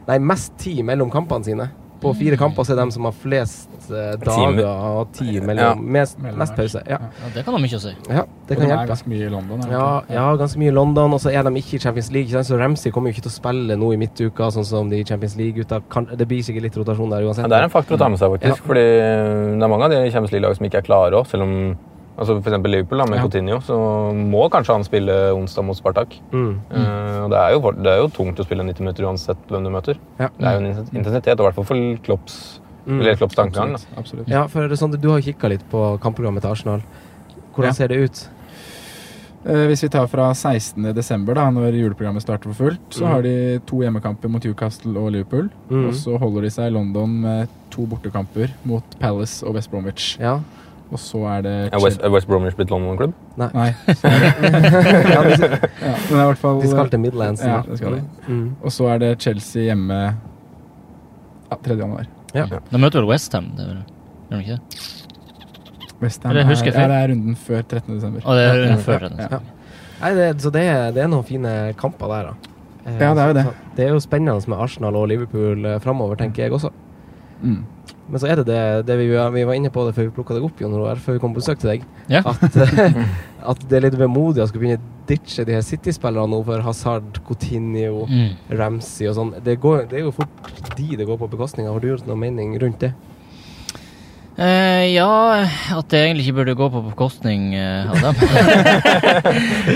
Nei, mest tid mellom kampene sine. På fire kamper så er de som har flest eh, Timer. dager og tid mellom Ja. mest, Mellom mest pause. Ja. Ja, det kan ha mye å si. Ja, det kan Og de er hjelpe. ganske mye i London. er det Ja, ikke? ja, ganske mye i London, og så er de ikke i Champions League. ikke sant? Så Ramsey kommer jo ikke til å spille nå i midtuka, sånn som de i Champions League-gutta. Kan- Det blir sikkert litt rotasjon der uansett. Ja, det er en faktor å ta med seg, faktisk. Ja. Fordi eh, det er mange av de Champions League-lag som ikke er klare òg, selv om altså for eksempel Liverpool da, med Ja. Coutinho, så må kanskje han spille onsdag mot Spartak. Mm. Eh, og det er, jo, for- det er jo tungt å spille 90 minutter uansett hvem du møter. Ja. Det er jo en inten- intensitet, og i hvert fall for Klopps, Mm. eller Klopps tankegang. Da. Absolutt. Absolutt. Ja, for det er sånn, du har jo kikka litt på kampprogrammet til Arsenal. Hvordan Ja. ser det ut? Eh, Hvis vi tar fra 16. desember, da, når juleprogrammet starter for fullt, så Mhm. har de to hjemmekamper mot Newcastle og Liverpool. Mhm. Og så holder de seg i London med to bortekamper mot Palace og West Bromwich. Ja. Og så er det Er West, er West Bromwich blitt London-klubb? Nei. Nei. Ja, de- Ja, men det er i hvert fall De skal til Midlands Ja, nå. det skal de. Mm. Og så er det Chelsea hjemme ja, 3. januar. Ja. De møter vel Westham, det er vel Gjør de ikke det? West Ham Eller husker jeg er, ja, feil? det er runden før 13. desember. Å, det er runden Ja, før ja, 13. ja. Nei, det, så det er, det er noen fine kamper der, da. Eh, Ja, det er jo det. så- Det er jo spennende med Arsenal og Liverpool eh, framover, tenker jeg også. Mm. Men så er det det, det vi, vi var inne på det før vi plukka deg opp, Jon Roar, før vi kom på besøk til deg. Ja. At, eh, at det er litt vemodig å skulle begynne å ditche de her City-spillerne nå for Hazard, Coutinho, Mm. Ramsey og sånn. Det, går- det er jo fort de det går på bekostning av. Har du gjort noen mening rundt det? Eh, ja, at det egentlig ikke burde gå på bekostning eh, av dem.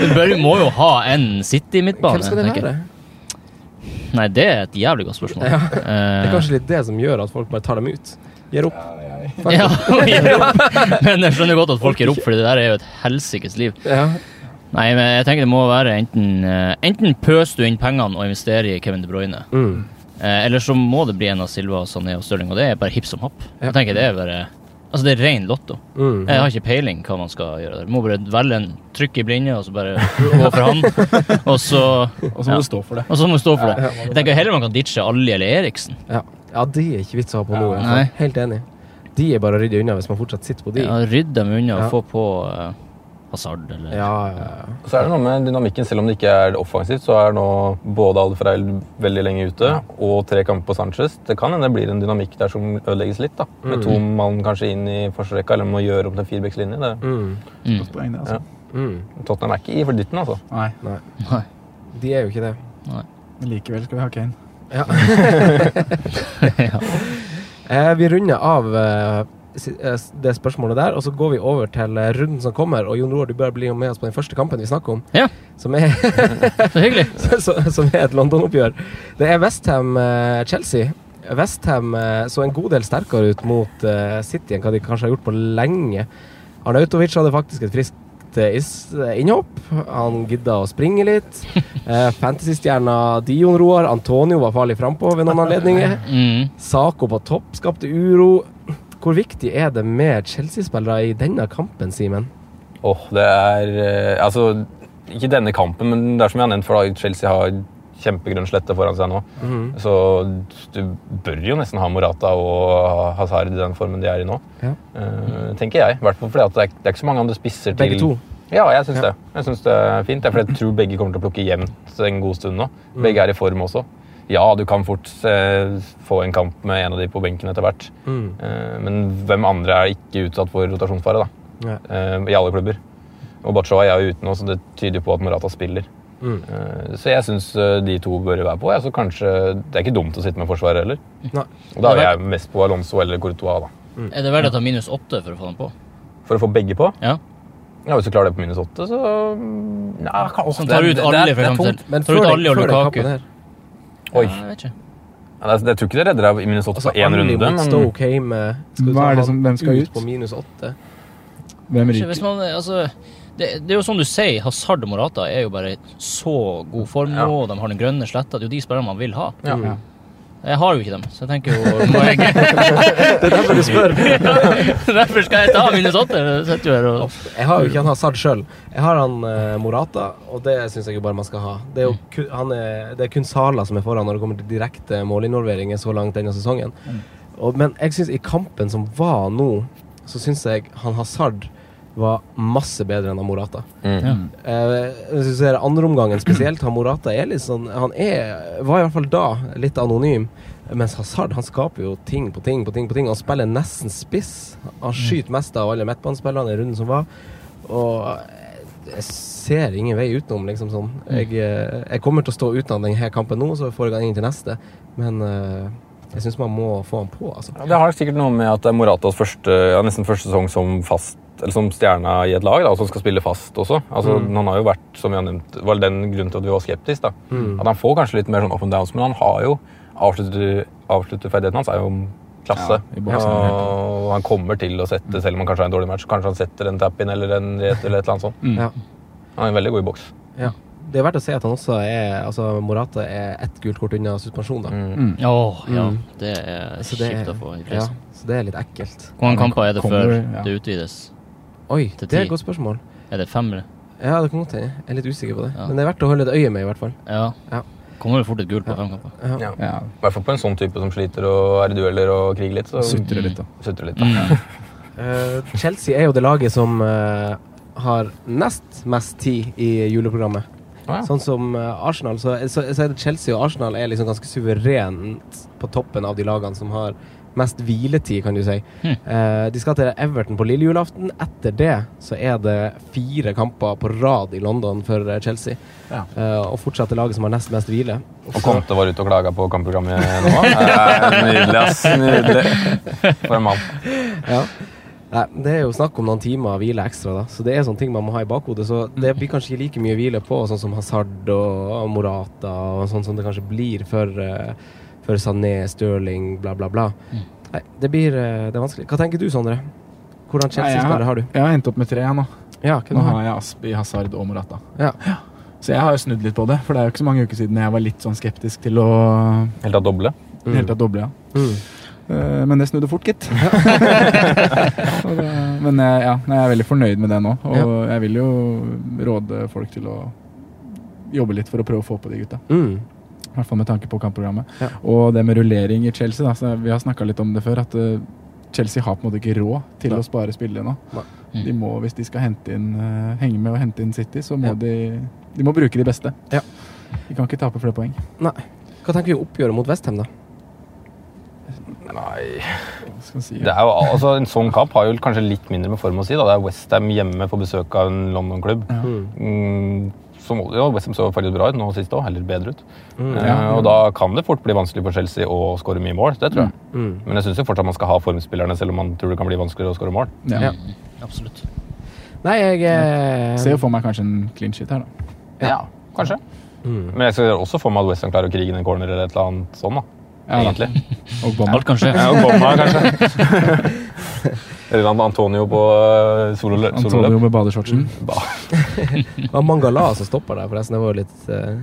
du bør, må jo ha en City-midtbane. Hvem skal det tenker jeg. være? Nei, det er et jævlig godt spørsmål. Ja. Det Eh, er kanskje litt det som gjør at folk bare tar dem ut. Gir opp. Fuck ja, it. ja. Men jeg skjønner godt at folk gir opp, for det der er jo et helsikes liv. Ja. Nei, men jeg tenker det må være enten eh, Enten pøser du inn pengene og investerer i Kevin De Bruyne, Mm. eh, eller så må det bli en av Silva, Sané og Stirling, og det er bare hipp som happ. Ja. Jeg tenker det er bare Altså, det er ren lotto. Mm. Jeg har ikke peiling hva man skal gjøre der. Må bare velge en trykk i blinde, og så bare gå for han. Og så Og så må Ja. du stå for det. Og så må du stå for det. Jeg tenker heller man kan ditche Alli eller Eriksen. Ja. ja, det er ikke vits å ha på nå. i hvert Nei. fall. Helt enig. De er bare å rydde unna hvis man fortsatt sitter på de. Ja, Rydde dem unna og Ja. få på eh, Hazard eller Ja, ja, ja. Og Så er det noe med dynamikken, selv om det ikke er offensivt, så er nå både Alfreil veldig lenge ute og tre kamper på Sanchez. Det kan hende det blir en dynamikk der som ødelegges litt, da. Med to mann kanskje inn i forsvarsrekka, eller må gjøre om til en firebackslinje. Det- Mm. Mm. Poeng, det, altså. Mm. Tottenham er ikke i for dytten, altså. Nei, Nei. De er jo ikke det. men likevel skal vi ha Kane. Ja. ja. Eh, vi runder av eh, si- eh, s- det spørsmålet der, og så går vi over til eh, runden som kommer. Og Jon Roar, du bør bli med oss på den første kampen vi snakker om, Ja. som er, Så hyggelig. som, som er et London-oppgjør. Det er eh, Westham-Chelsea. Westham eh, så en god del sterkere ut mot eh, City enn hva de kanskje har gjort på lenge. Arnautovic hadde faktisk et friskt eh, is- innhopp. Han gidda å springe litt. Eh, Fantasy-stjerna Dion Roar Antonio var farlig frampå ved noen anledninger. Mm. Sako på topp skapte uro. Hvor viktig er det med Chelsea-spillere i denne kampen, Simen? Åh, det er eh, Altså, ikke denne kampen, men det er som jeg har nevnt, for da Chelsea har kjempegrønn slette foran seg nå. Så du bør jo nesten ha Morata og Hazard i den formen de er i nå. Ja. Eh, tenker jeg. I hvert fall fordi at det er, det er ikke så mange andre spisser til Begge to. Ja, jeg syns det. Jeg synes det er fint. Det er fordi jeg tror begge kommer til å plukke jevnt en god stund nå. Mm. Begge er i form også. Ja, du kan fort eh, få en kamp med en av de på benken etter hvert. Mm. Eh, men hvem andre er ikke utsatt for rotasjonsfare, da? Ja. Eh, I alle klubber. Og Bachoa er jo ute nå, så det tyder på at Morata spiller. Mm. Eh, Så jeg syns de to bør være på. Ja. Så kanskje, det er ikke dumt å sitte med forsvaret heller. Nei. Og da er jeg mest på Alonso eller Courtois, da. Er det verdt å ta minus åtte for å få den på? For å få begge på? Ja. Hvis du klarer det på minus åtte, så mm, Nei, kanskje. Som tar ut alle, for eksempel. Tar ut alle og Lukaku. Oi. Ja, jeg vet ikke. Ja, det er- jeg tror ikke det redder deg i minus åtte på én Alli Altså, runde, mot Stoke hjemme. Skal vi Hva ta er det han som- hvem skal ut? På minus åtte. Hvem Kanskje ryker? Hvis man, altså, det, det er jo som du sier, Hazard og Morata er jo bare i så god form nå, og de har den grønne sletta. Det er jo de spillerne man vil ha. Ja. Ja. Mm. Jeg har jo ikke dem, så jeg tenker jo må jeg... Det er derfor du spør. derfor skal jeg ta minus åtte. Jeg sitter jo her og Jeg har jo ikke han Hazard sjøl. Jeg har han eh, Morata, og det syns jeg jo bare man skal ha. Det er jo ku, han er, det er kun Sala som er foran når det kommer til direkte målinvolveringer så langt denne sesongen. Mm. Og, men jeg syns i kampen som var nå, så syns jeg han Hazard var masse bedre enn han Morata. Mm. Eh, hvis du ser andreomgangen spesielt, han Morata er litt sånn Han er, var i hvert fall da litt anonym, mens Hazard han skaper jo ting på ting på ting. på ting Han spiller nesten spiss. Han skyter mest av alle midtbanespillerne i runden som var. Og jeg ser ingen vei utenom, liksom sånn. Jeg, eh, jeg kommer til å stå uten han denne kampen nå, så får jeg han inn til neste. Men eh, jeg syns man må få han på, altså. Ja, Det har sikkert noe med at det er Moratas første, ja, nesten første sesong som fast eller som stjerna i et lag, da, og som skal spille fast også. Altså, Mm. Han har jo vært, som vi har nevnt, var den grunnen til at vi var skeptiske. da. Mm. At han får kanskje litt mer sånn up and downs, men han har jo avslutter- avslutterferdigheten hans er jo klasse. Ja, i boksen, og han kommer til å sette, selv om han kanskje har en dårlig match, kanskje han setter en tap-in eller en ret eller et eller annet sånt. Mm. Ja. Han er veldig god i boks. Ja. Det er verdt å si at han også er Altså, Morata er ett gult kort unna suspensjon, da. Mm. Åh, ja. Mm. Det er Så det kjipt å er- få Mm. i Ja, press. så det er litt ekkelt. Hvor mange kamper er det Kommer, før ja. det utvides? Oi, til det er ti? et godt spørsmål. Er det fem, eller? Ja, det kan godt hende. Jeg er litt usikker på det. Ja. Men det er verdt å holde et øye med, i hvert fall. Ja. Ja. Kommer det fort et gult på fem kamper? Ja. Ja. Ja. I hvert fall på en sånn type som sliter og er i dueller og kriger litt. Så Sutrer litt, da. Mm. Sutrer litt, da. Eh, Chelsea er jo det laget som eh, har nest mest tid i juleprogrammet. Ah, ja. Sånn som eh, Arsenal, så, så, så er det Chelsea og Arsenal er liksom ganske suverent på toppen av de lagene som har mest hviletid, kan du si. Hm. Eh, de skal til Everton på lille julaften. Etter det så er det fire kamper på rad i London for eh, Chelsea. Ja. Eh, og fortsatt det laget som har nest mest hvile. Og Conte var ute og klaga på kampprogrammet nå. Eh, Nydelig, ass. Nydelig. For en mann. ja. Nei, det er jo snakk om noen timer hvile ekstra, da. Så det er sånne ting man må ha i bakhodet. Så det Mm. blir kanskje ikke like mye hvile på, sånn som Hazard og Morata, og sånn som det kanskje blir for, eh, for Sané, Stirling, bla, bla, bla. Mm. Nei, det blir eh, Det er vanskelig. Hva tenker du, Sondre? Hvordan Nei, Chelsea-spillere jeg- har du? Jeg har endt opp med tre, jeg nå. Ja, hvem Nå har du? har jeg Aspi, Hazard og Morata. Ja. Så jeg har jo snudd litt på det, for det er jo ikke så mange uker siden jeg var litt sånn skeptisk til å Helt av doble. mm. helt tatt doble, ja. Mm. Eh, Men det snudde fort, gitt. Så det- Men eh, ja, nei, jeg er veldig fornøyd med det nå, og jeg vil jo råde folk til å jobbe litt for å prøve å få på de gutta. Mm. I hvert fall med tanke på kampprogrammet. Ja. Og det med rullering i Chelsea, da, så vi har snakka litt om det før, at eh, Chelsea har på en måte ikke råd til Nei. å spare spillere nå. Nei. De Mm. må, hvis de skal hente inn, eh, henge med og hente inn City, så må Ja. de, de må bruke de beste. Ja. De kan ikke tape flere poeng. Nei. Hva tenker vi om oppgjøret mot Westham, da? Nei Hva Skal man si. det er jo, altså, En sånn kamp har jo kanskje litt mindre med form å si. da. Det er Westham hjemme på besøk av en London-klubb. Mm, som- ja, Westham så faktisk bra ut nå sist òg, eller bedre ut. Eh, Mm. Ja. og da kan det fort bli vanskelig for Chelsea å skåre mye mål. Det tror jeg. Mm. Men jeg syns fortsatt man skal ha formspillerne, selv om man tror det kan bli vanskeligere å skåre mål. Ja. Ja. Absolutt. Nei, jeg eh, Ser jo for meg kanskje en clean shit her, da. Ja, kanskje. mm. Men jeg ser også for meg at Westham klarer å krige inn en corner eller et eller annet sånn, da. Ja, da. Egentlig. Og Bomma. Alt kan skje. Ja, og Gomma, kanskje. Eller han Antonio på eh, sololø- Antonio sololøp. med badeshortsen. Mm. Ba- Det var Mangala som stoppa der, forresten. Det var jo litt eh,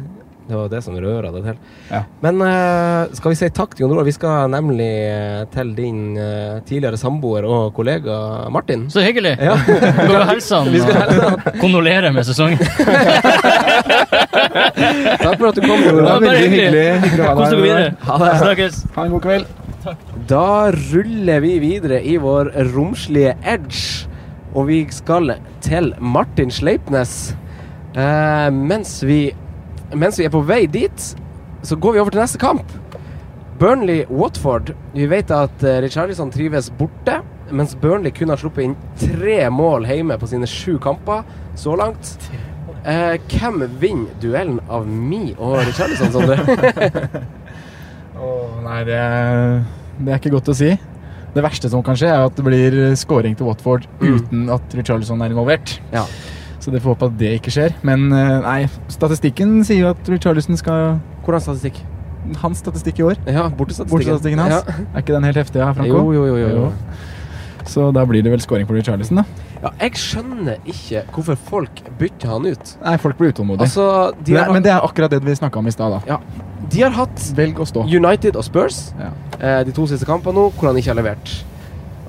Det var det som røra det til. Ja. Men eh, skal vi si takk til Jon Roar? Vi skal nemlig eh, til din eh, tidligere samboer og kollega Martin. Så hyggelig! Ja. Dere hilser han og kondolerer med sesongen. Takk for at du kom, Det Jon Roar. var bare hyggelig. hyggelig å ha deg Kos dere med videre. Ha det. Snakkes. Ha en god kveld. Da ruller vi videre i vår romslige edge, og vi skal til Martin Sleipnes. Eh, mens, vi, mens vi er på vei dit, så går vi over til neste kamp. Burnley-Watford. Vi vet at eh, Richarlison trives borte, mens Burnley kun har sluppet inn tre mål hjemme på sine sju kamper så langt. Eh, hvem vinner duellen av mi og Richarlison, Sondre? Åh, nei, det er, det er ikke godt å si. Det verste som kan skje, er at det blir scoring til Watford Mm. uten at Richarlison er involvert. Så det får håpe at det ikke skjer. Men eh, nei, statistikken sier jo at Richarlison skal Hvordan statistikk? Hans statistikk i år. Ja, bortestatistikken. Bortestatistikken hans. Ja. Er ikke den helt heftig, ja, Franco? Jo, jo, jo, jo, jo. Så da blir det vel scoring for Richarlison, da. Ja, jeg skjønner ikke hvorfor folk bytter han ut. Nei, folk blir utålmodige. Altså, de Nei, har- Men det er akkurat det vi snakka om i stad, da. De har hatt Velg å stå. United og Spurs eh, de to siste kampene nå, hvor han ikke har levert.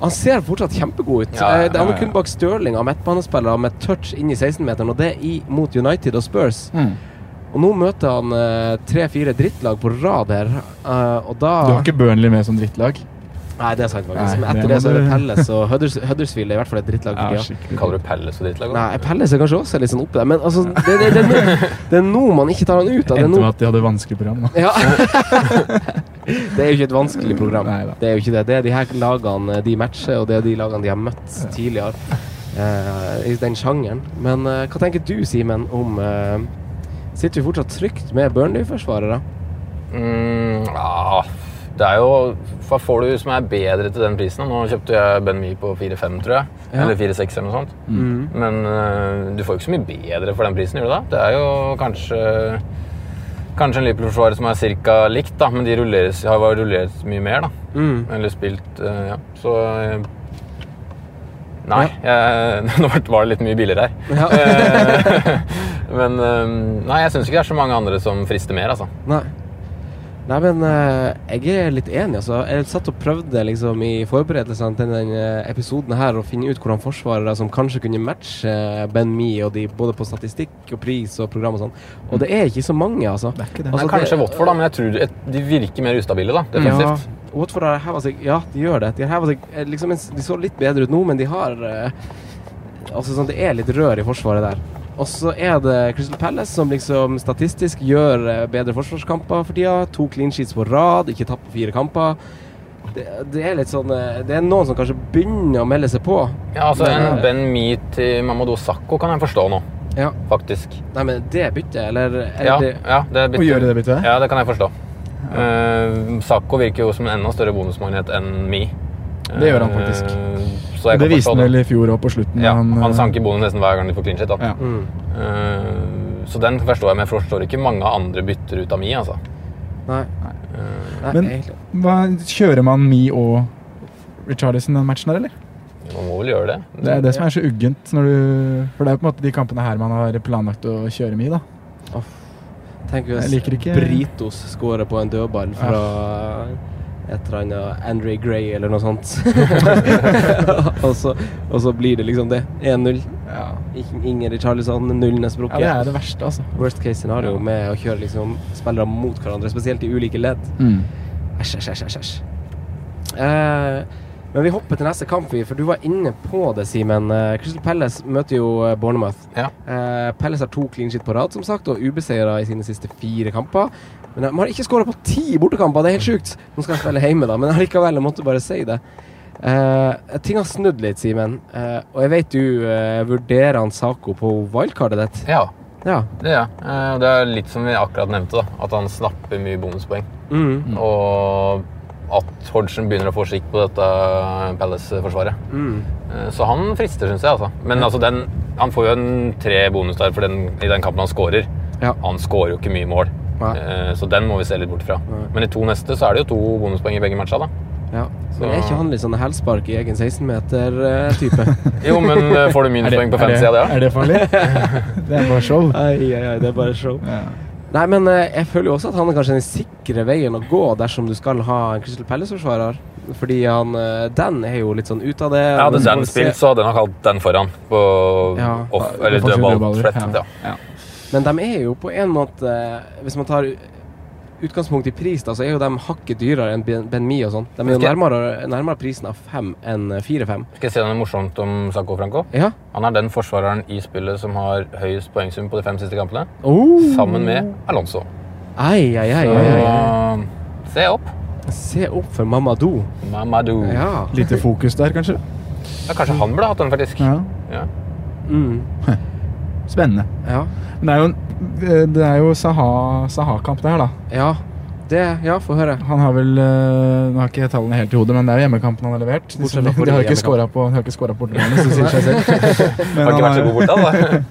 Han ser fortsatt kjempegod ut. Ja, ja, Eh, det er ja, han ja. kun bak Stirling av midtbanespillere med touch inn i 16-meteren, og det i, mot United og Spurs. Mm. Og nå møter han eh, tre-fire drittlag på rad her, eh, og da Du har ikke Burnley med som drittlag? Nei, det er sant, faktisk. Nei, Men etter det det må så er det du- Palace og Hudders Huddersfield er i hvert fall et drittlag. for Ja, tida. skikkelig. Kaller du Palace og drittlag? Nei, Palace er kanskje også litt sånn oppe der, men altså, det, det, det, er nå- det er nå man ikke tar han ut. Da. Det er Endte nå med at de hadde vanskelig program, da. Ja. det er jo ikke et vanskelig program. Det er jo ikke det. Det er de her lagene de matcher, og det er de lagene de har møtt tidligere. eh, I den sjangeren. Men eh, hva tenker du, Simen, om eh, Sitter vi fortsatt trygt med Burnley-forsvarere? Mm, ja, det er jo Hva får du som er bedre til den prisen? da? Nå kjøpte jeg Ben Mee på 4-5, tror jeg. Ja. Eller 4-6 eller noe sånt. Mm. Men eh, du får jo ikke så mye bedre for den prisen, gjør du det? Det er jo kanskje Kanskje en Liverpool-forsvarer som er ca. likt, da, men de rulleres, har jo rullert mye mer. da. Mm. Eller spilt eh, Ja, så eh, Nei. Jeg, nå ble- var det litt mye biler her. Ja. Eh, men eh, nei, jeg syns ikke det er så mange andre som frister mer, altså. Nei. Nei, men eh, jeg er litt enig, altså. Jeg satt og prøvde liksom i forberedelsene til den eh, episoden her å finne ut hvordan forsvarere som kanskje kunne matche eh, Ben Mee og de, både på statistikk og pris og program og sånn. Og det er ikke så mange, altså. Det er ikke Nei, kanskje Watford, da, men jeg tror et- de virker mer ustabile. da, Ja, defensivt. Watford har hevet seg Ja, de gjør det. De, har hevet seg, eh, liksom, mens de så litt bedre ut nå, men de har eh, Altså sånn, Det er litt rør i forsvaret der. Og så er det Crystal Palace som liksom statistisk gjør eh, bedre forsvarskamper for tida. To clean sheets på rad, ikke tapt på fire kamper. Det, det er litt sånn eh, Det er noen som kanskje begynner å melde seg på. Ja, altså Men, En eh, Ben Mee til Mamadou Sakko kan jeg forstå nå, Ja. faktisk. Nei, men det byttet, eller, eller Ja, det, ja, det bytter. Å gjøre det byttet? Ja, det kan jeg forstå. Eh, Sakko virker jo som en enda større bonusmagnet enn Me. Det gjør han faktisk. Eh, så jeg det kan viste forstå han vel i fjor òg, på slutten. Ja, han, han eh, sanker bonus nesten hver gang de får clean shit. Da. Ja. Eh, så den forstår jeg, men jeg forstår ikke mange andre bytter ut av Mi. Altså. Nei. Eh, Men hva, kjører man Me og Richarlison den matchen her, eller? man må vel gjøre det. Det er det som er så uggent når du For det er jo på en måte de kampene her man har planlagt å kjøre Me, da. Tenk Jeg hvis liker ikke- Britos skårer på en dødball fra et eller annet Andre Gray eller noe sånt. og, så, og så blir det liksom det. 1-0. Ing- Inger Charlison, nullen er sprukket. Ja, det er det verste, altså. Worst case scenario med å kjøre liksom spillere mot hverandre, spesielt i ulike ledd. Mm. Æsj, æsj, æsj, æsj, æsj. Eh, men vi hopper til neste kamp, vi, for du var inne på det, Simen. Eh, Crystal Palace møter jo eh, Bournemouth. Eh, Palace har to clean shit på rad, som sagt, og ubeseira i sine siste fire kamper. Men de har ikke skåra på ti bortekamper, det er helt sjukt! Nå skal de spille hjemme, da, men allikevel, jeg måtte bare si det. Eh, ting har snudd litt, Simen, Eh, og jeg vet du eh, vurderer han Sako på wildcardet ditt. Ja. Ja. Det er, jeg. Eh, det er litt som vi akkurat nevnte, da, at han snapper mye bonuspoeng. Mm. Og at Hodgson begynner å få skikk på dette Palace-forsvaret. Mm. Eh, Så han frister, syns jeg. altså. Men altså, den, han får jo en tre bonus der for den, i den kampen han scorer. Han scorer jo ikke mye mål, Eh, så den må vi se litt bort fra. Men i to neste så er det jo to bonuspoeng i begge matcha. da. Ja. Men er ikke han litt sånn hælspark i egen eh, 16-meter-type? Jo, men, eh, får du minuspoeng på fantasy av det, da? Er det farlig? det er bare show. Ai, ai, ai, det er bare show. Nei, men eh, jeg føler jo også at han er kanskje den sikre veien å gå dersom du skal ha en Crystal Palace-forsvarer. Fordi han eh, Dan er jo litt sånn ute av det. Ja, hadde Men Dan får se- spilt, så hadde han hatt den foran på Ja. off, Ja, eller offensive dødball. dødballer, Slett, ja. ja. Men de er jo på en måte eh, Hvis man tar utgangspunkt i pris, da, så er jo de hakket dyrere enn Ben- Ben Mee og sånn. De er jo Skal- nærmere, nærmere prisen av fem enn eh, fire-fem. Skal jeg si noe morsomt om Sanko Franco? Ja. Han er den forsvareren i spillet som har høyest poengsum på de fem siste kampene. Oh. Sammen med Alonso. Ai, ai, ai, ai, ai, ai. Se opp. Se opp for Mamadou. Mamadou. Ja. Lite fokus der, kanskje. Ja, kanskje han burde hatt den, faktisk. Ja. Ja. Mm. Spennende. Ja. Men det er jo, en- eh, det er jo Saha- Saha-kamp der, da. Ja, det, ja, få høre. Han har vel eh, Nå har ikke jeg tallene helt i hodet, men det er jo hjemmekampen han har levert. De, Bortsett som, fra de har jo ikke hjemmekamp. skåra på De har ikke skåra på bortebane, så det sier seg selv. Har ikke vært så god borte, da.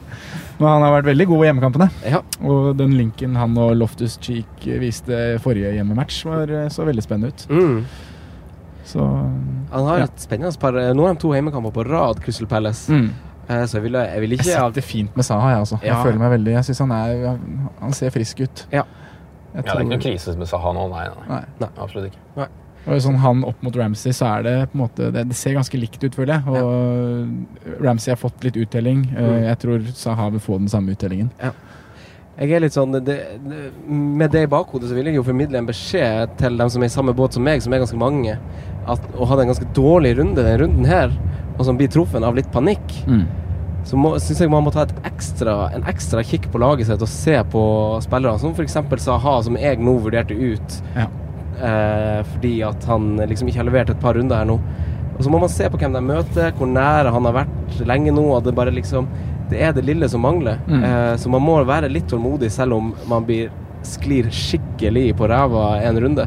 Men han har vært veldig god i hjemmekampene. Ja. Og den linken han og Loftus Cheek viste forrige hjemmematch, var, eh, så veldig spennende ut. Mm. Så Han har Ja. et spennende par Eh, Nå har de to hjemmekamper på rad, Crystal Palace. Mm. Eh, Så jeg ville, jeg ville jeg ikke setter fint med Saha, jeg også. Ja. Jeg føler meg veldig Jeg syns han er Han ser frisk ut. Ja. Jeg Ja, det er ikke noe tror- krise med Saha nå, nei. nei. Nei. Absolutt ikke. Og sånn han opp mot Ramsey, så er det på en måte Det, det ser ganske likt ut, føler jeg. Og Ramsey har fått litt uttelling. Eh, Mm. Jeg tror Saha vil få den samme uttellingen. Jeg er litt sånn det, det- Med det i bakhodet så vil jeg jo formidle en beskjed til dem som er i samme båt som meg, som er ganske mange, at å ha en ganske dårlig runde den runden her, og som blir truffet av litt panikk, Mm. så må- syns jeg man må ta et ekstra, en ekstra kikk på laget sitt og se på spillere, som f.eks. Saha, som jeg nå vurderte ut Ja. eh, fordi at han liksom ikke har levert et par runder her nå. Og så må man se på hvem de møter, hvor nære han har vært lenge nå. Og det bare liksom Det er det lille som mangler. Mm. Eh, så man må være litt tålmodig, selv om man blir sklir skikkelig på ræva en runde,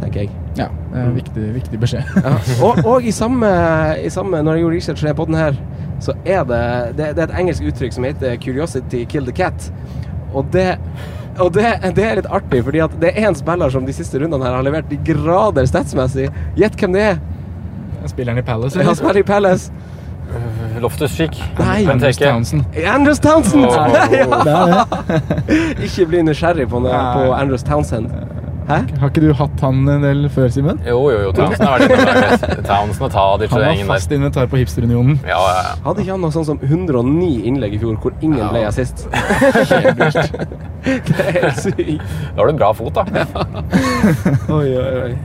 tenker jeg. Ja, det er en viktig, viktig beskjed. Ja. Og, og i, samme, i samme Når jeg gjorde research på den her, så er det, det Det er et engelsk uttrykk som heter 'curiosity kill the cat'. Og det og det, det er litt artig, fordi at det er en spiller som de siste rundene her har levert i grader statsmessig. Gjett hvem det er? Spilleren i Palace? Han spiller i Palace. Loftus Cheek. Nei. Bent Heke. Andrews Townsend! Åh. ja. Ikke bli nysgjerrig på, på Andrews Townsend. Hæ? Har ikke du hatt han en del før, Simen? Jo, jo, jo. Townsend har vært inne der. Townsend og Tadic Han og var gjengen der. fast inventar på Hipsterunionen. Ja, ja, ja. Hadde ikke han noe sånn som 109 innlegg i fjor hvor ingen ble assist? det er helt sykt. Da har du bra fot, da. Oi, oi, oi.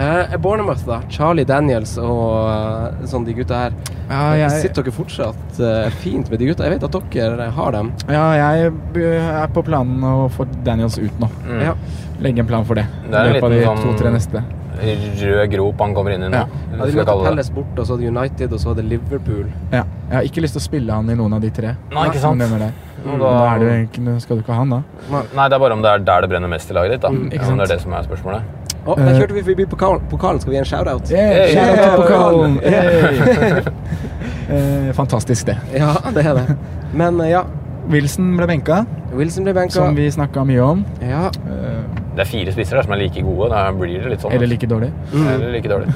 Eh, Bournemouth, da. Charlie Daniels og eh, sånn de gutta her. Ja, jeg- Sitter dere fortsatt eh, fint med de gutta? Jeg vet at dere har dem. Ja, jeg b- er på planen å få Daniels ut nå. Mm. Ja. Legge en plan for Mm. det. Det er en I løpet av de liten sånn- to-tre neste. Rød grop han kommer inn i nå. Ja. Ja, de Skal jeg møtte kalle det. Palace borte, og så hadde United, og så hadde Liverpool. Ja. Jeg har ikke lyst til å spille han i noen av de tre. Nei, ikke sant. Som nevner deg. Og Da da- er det jo egentlig, skal du ikke ha han, da. Nei, det er bare om det er der det brenner mest i laget ditt, da. Mm, ikke Ja, sant. det er det som er spørsmålet. Å, Eh. der kjørte vi forbi pokalen. pokalen. Skal vi gi en shout-out? Yeah, shout out til pokalen. Hey. Eh, fantastisk, det. Ja, det er det. Men eh, ja, Wilson ble benka, Wilson ble benka. som vi snakka mye om. Ja. Eh, Det er fire spisser der som er like gode. Da blir det litt sånn. eller like dårlig. Eller like dårlig.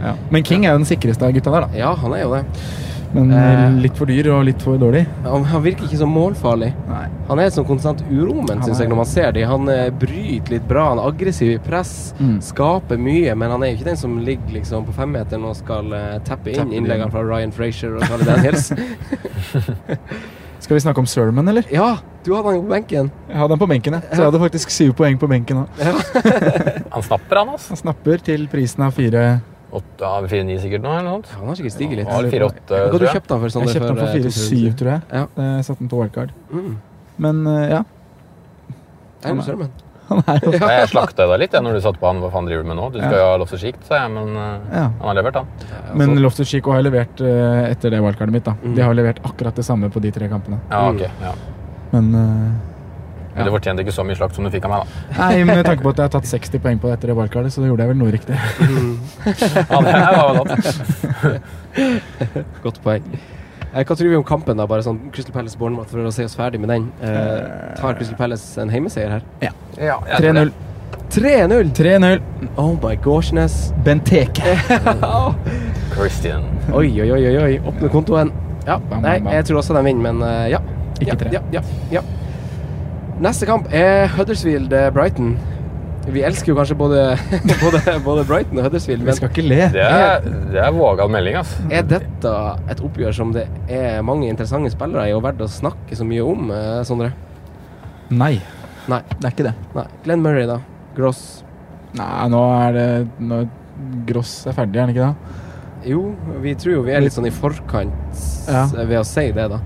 Ja. Men King er jo den sikreste av gutta der, da. ja, han er jo det. Men eh, Eh. litt for dyr og litt for dårlig. Han, han virker ikke så målfarlig. Nei. Han er et sånn konstant uromen, Han syns er- jeg, når man ser dem. Han eh, bryter litt bra, han er aggressiv i press, Mm. skaper mye, men han er jo ikke den som ligger liksom på femmeteren og skal eh, tappe Tappe inn de inn. innleggene fra Ryan Frazier og Charlie Daniels. Skal vi snakke om Sermon, eller? ja, du hadde han jo på benken. Jeg hadde han på benken, jeg. Så jeg hadde faktisk syv poeng på benken òg. Han snapper, han, altså. Han snapper til prisen av fire Åtte av fire-ni sikkert nå, eller noe sånt. Ja, han har sikkert stiget litt. Ja, Hva fire-åtte, har tror du jeg. kjøpt han for, Jeg Sander? kjøpte den for eh, to, tre 4-7, runder tror jeg. Ja. Eh, Satte den på wildcard. siden? Mm. Men eh, ja, Det er jo Sermon. han er jo Nei, Jeg slakta deg litt jeg, når du satt på han. Hva faen driver du med nå? Du skal jo ha lofts og sikt, sa jeg, men eh, Ja. han har levert, han. Men Loftus Chico har levert eh, etter det wildcardet mitt. da altså- Mm. De har levert akkurat det samme på de tre kampene. Ja, ok. Ja. Men eh, Men du fortjente ikke så mye slakt som du fikk av meg, da. Nei, med tanke på at jeg har tatt 60 poeng på det etter det wildcardet, så gjorde jeg vel noe riktig. Ja, det var jo noe. Godt poeng. Eh, Hva tror vi om kampen, da? Bare sånn Crystal Palace Bournemouth for å se oss ferdig med den. Eh, tar Crystal Palace en heimeseier her? Ja, jeg tror det. 3-0. 3-0! 3-0. Oh my goshness. Benteke. Christian. Oi, oi, oi, oi, oi. Åpne kontoen. Ja, Bam, bam, nei, bam. jeg tror også den vinner, men eh, ja. Ikke ja, tre. Ja, ja, ja. Neste kamp er Huddersfield-Brighton. Vi elsker jo kanskje både, både, både Brighton og Huddersfield, Vi men skal ikke le. Det er, det er vågal melding, altså. ass. er dette et oppgjør som det er mange interessante spillere i og verdt å snakke så mye om, eh, Sondre? Nei, Nei. det er ikke det. Nei. Glenn Murray, da. Gross. Nei, nå er det nå, Gross er ferdig, er han ikke det? Jo, vi tror jo vi er litt sånn i forkant s- Ja. ved å si det, da.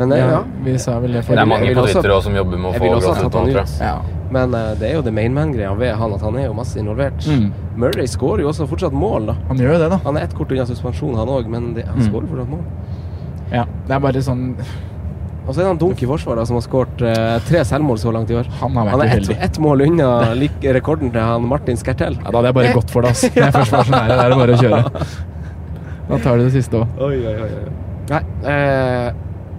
Men eh, ja. Vi sa vel Det det er forrige. mange jeg vil på også- Twitter også som jobber med å Jeg få ville også ha Gross ut tatt nå, han tror ut. jeg. Ja. Men eh, det er jo the main man-greia ved han, at han er jo masse involvert. Mm. Murray skårer jo også fortsatt mål, da. Han gjør jo det, da. Han er ett kort unna suspensjon, han òg, men det, han Mm. skårer fortsatt mål. Ja, det er bare sånn Og så er det han dunk i forsvaret som har skåret eh, tre selvmål så langt i år. Han har vært er ett uheldig. ett mål unna lik rekorden til han Martin Skertel. Ja, da hadde jeg bare gått for det, ass. Når jeg først var så nære, da er det bare å kjøre. Da tar du det siste òg. Nei, eh,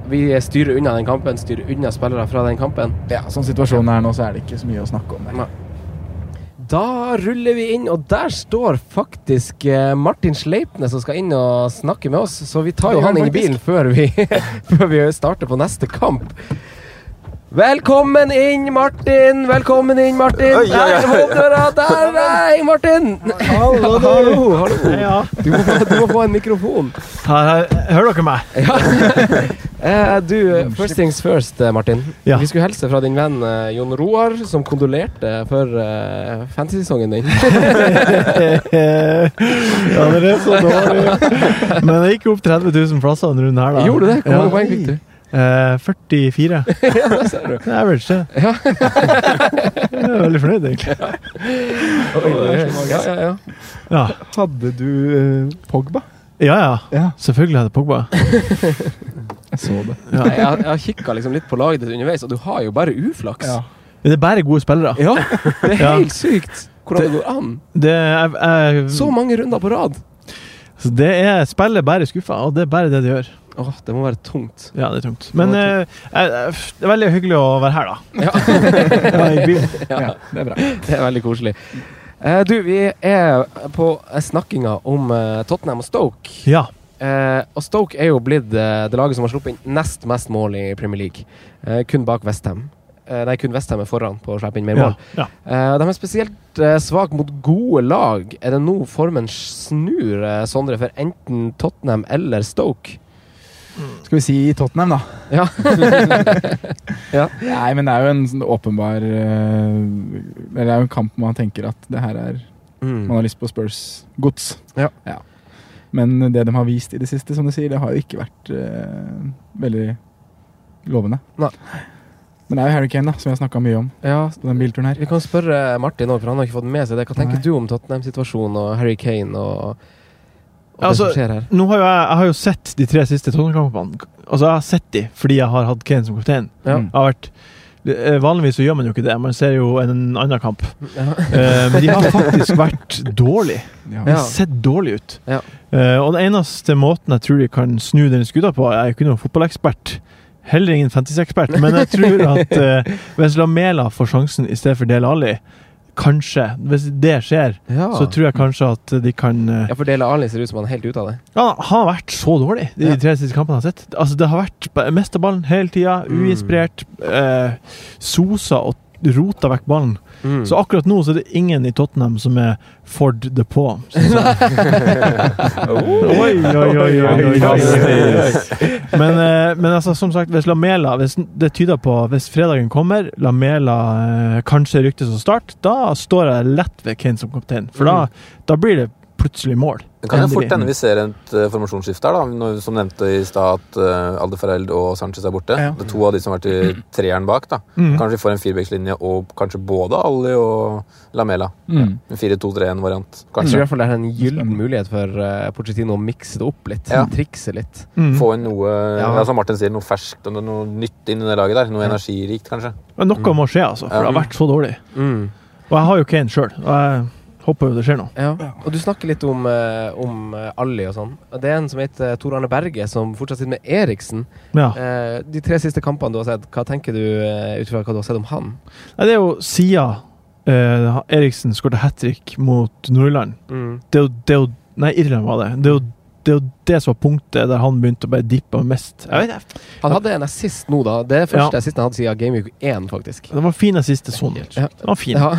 vi styrer unna den kampen, styrer unna spillere fra den kampen. Ja, sånn situasjonen er nå, så er det ikke så mye å snakke om der. Da ruller vi inn, og der står faktisk eh, Martin Sleipnes som skal inn og snakke med oss. Så vi tar Det jo gjør han han inn i bilen faktisk. før vi, før vi starter på neste kamp. Velkommen inn, Martin! Velkommen inn, Martin! Oi, oi, oi. Der, hoveddøra! Der, hei, Martin! Hallo, du. hallo! Ja. Du, må få, du må få en mikrofon. Her, hører dere meg? Eh, du, eh, first things first, eh, Martin. Ja. Vi skulle hilse fra din venn eh, Jon Roar, som kondolerte for eh, fantasy-sesongen din. ja, dere, så da var det Men jeg gikk opp 30 000 plasser denne runden her, da. Gjorde du det? Hvor mange poeng fikk du? Eh, 44. ja, det ser du. Det er vel ikke Jeg er veldig fornøyd, egentlig. Ja, ja, ja. Ja. Hadde du eh, Pogba? Ja, ja. Selvfølgelig er det Pogba. Jeg så det. Ja. Jeg, har- jeg har kikka liksom litt på laget ditt underveis, og du har jo bare uflaks. Men det er bare gode spillere. Ja, Det er Ja. helt sykt hvordan det, går an. Det er, er, Så mange runder på rad. Så det er spillet bare skuffa, og det er bare det det gjør. Åh, Det må være tungt. Ja, det er tungt. må Men være eh, eh, f- det er veldig hyggelig å være her, da. Ja, i bilen. Ja, det er bra. Det er veldig koselig. Eh, du, vi er på eh, snakkinga om eh, Tottenham og Stoke. Ja. Eh, og Stoke er jo blitt eh, det laget som har sluppet inn nest mest mål i Premier League. Eh, kun bak Westham. Eh, nei, kun Westham er foran på å slippe inn mer Ja, mål. Eh, de er spesielt eh, svak mot gode lag. Er det nå formen snur, eh, Sondre, for enten Tottenham eller Stoke? Skal vi si Tottenham, da? Ja. Nei, men det er jo en sånn åpenbar eh, Eller det er jo en kamp man tenker at det her er Mm. Man har lyst på Spurs gods. Ja. Men det de har vist i det siste, som du sier, det har jo ikke vært eh, veldig lovende. Men det er jo Harry Kane, da, som jeg har snakka mye om. Ja, på den bilturen her. Vi kan spørre Martin òg, for han har ikke fått med seg det. Hva tenker du om Tottenham-situasjonen og Harry Kane og, og Altså, det som skjer her? nå har jo jeg, jeg har jo sett de tre siste Tottenham-kampene. Altså, jeg har sett de fordi jeg har hatt Kane som kaptein. Ja. Mm. Jeg har vært, det, eh, vanligvis så gjør man jo ikke det, man ser jo en annen kamp. Ja. Eh, men de har faktisk vært dårlige. Ja. De har sett dårlige ut. Ja. Eh, og den eneste måten jeg tror de kan snu den skuta på Jeg er jo ikke noen fotballekspert. Heller ingen fantasy-ekspert, men jeg tror at eh, hvis Lamela får sjansen i stedet for Del Ali, kanskje Hvis det skjer, Ja. så tror jeg kanskje at de kan eh, Ja, for Dele Alli ser ut som han er helt ute av det. ja, han har vært så dårlig i de tre siste kampene jeg har sett. Altså, det har vært b- mest av ballen hele tida, uinspirert. Eh, sosa og rota vekk ballen. Mm. Så akkurat nå så er det ingen i Tottenham som er Ford the Paw. Oi, oi, oi, oi, oi, oi. Men, eh, men altså, som sagt, hvis Lamela hvis Det tyder på hvis fredagen kommer, Lamela eh, kanskje ryktes å starte, da står jeg lett ved Kane som kaptein. For da, da blir det plutselig mål. Det kan jo Endelig. fort hende vi ser et eh, formasjonsskifte her, da. Når- Som nevnte i stad at uh, Aldefareld og Sanchez er borte. Det er to av de som har vært i treeren bak. da. Mm. Kanskje vi får en firebackslinje og kanskje både Ali og Lamela. Mm. En 4-2-3-1-variant. Jeg tror i Kanskje. hvert fall det er en gyllen mulighet for uh, Pochettino å mikse det opp litt. Ja. Trikse litt. Mm. Få inn noe Ja. ja, som Martin sier, noe ferskt og noe nytt inn i det laget der. Noe energirikt, kanskje. Um, Men noe må skje, altså. For det har vært så dårlig. Mm. Og jeg har jo Kane sjøl, og jeg håper jo det skjer noe. Ja. Og du snakker litt om, eh, om eh, Alli og sånn. Det er en som heter Tor Arne Berge, som fortsatt sitter med Eriksen. Ja. Eh, de tre siste kampene du har sett, hva tenker du eh, ut fra hva du har sett om han? Nei, det er jo Sia eh, Eriksen skåret hat trick mot Nord-Irland. Mm. Det er jo, det er jo Nei, Irland var det. Det er jo det, er jo det som var punktet der han begynte å bare dippe mest. Jeg vet, ikke. Han hadde en assist nå, da. Det er første Ja. assisten han hadde siden Game Week 1, faktisk. det var fin siste sånn. Den var fin. Ja.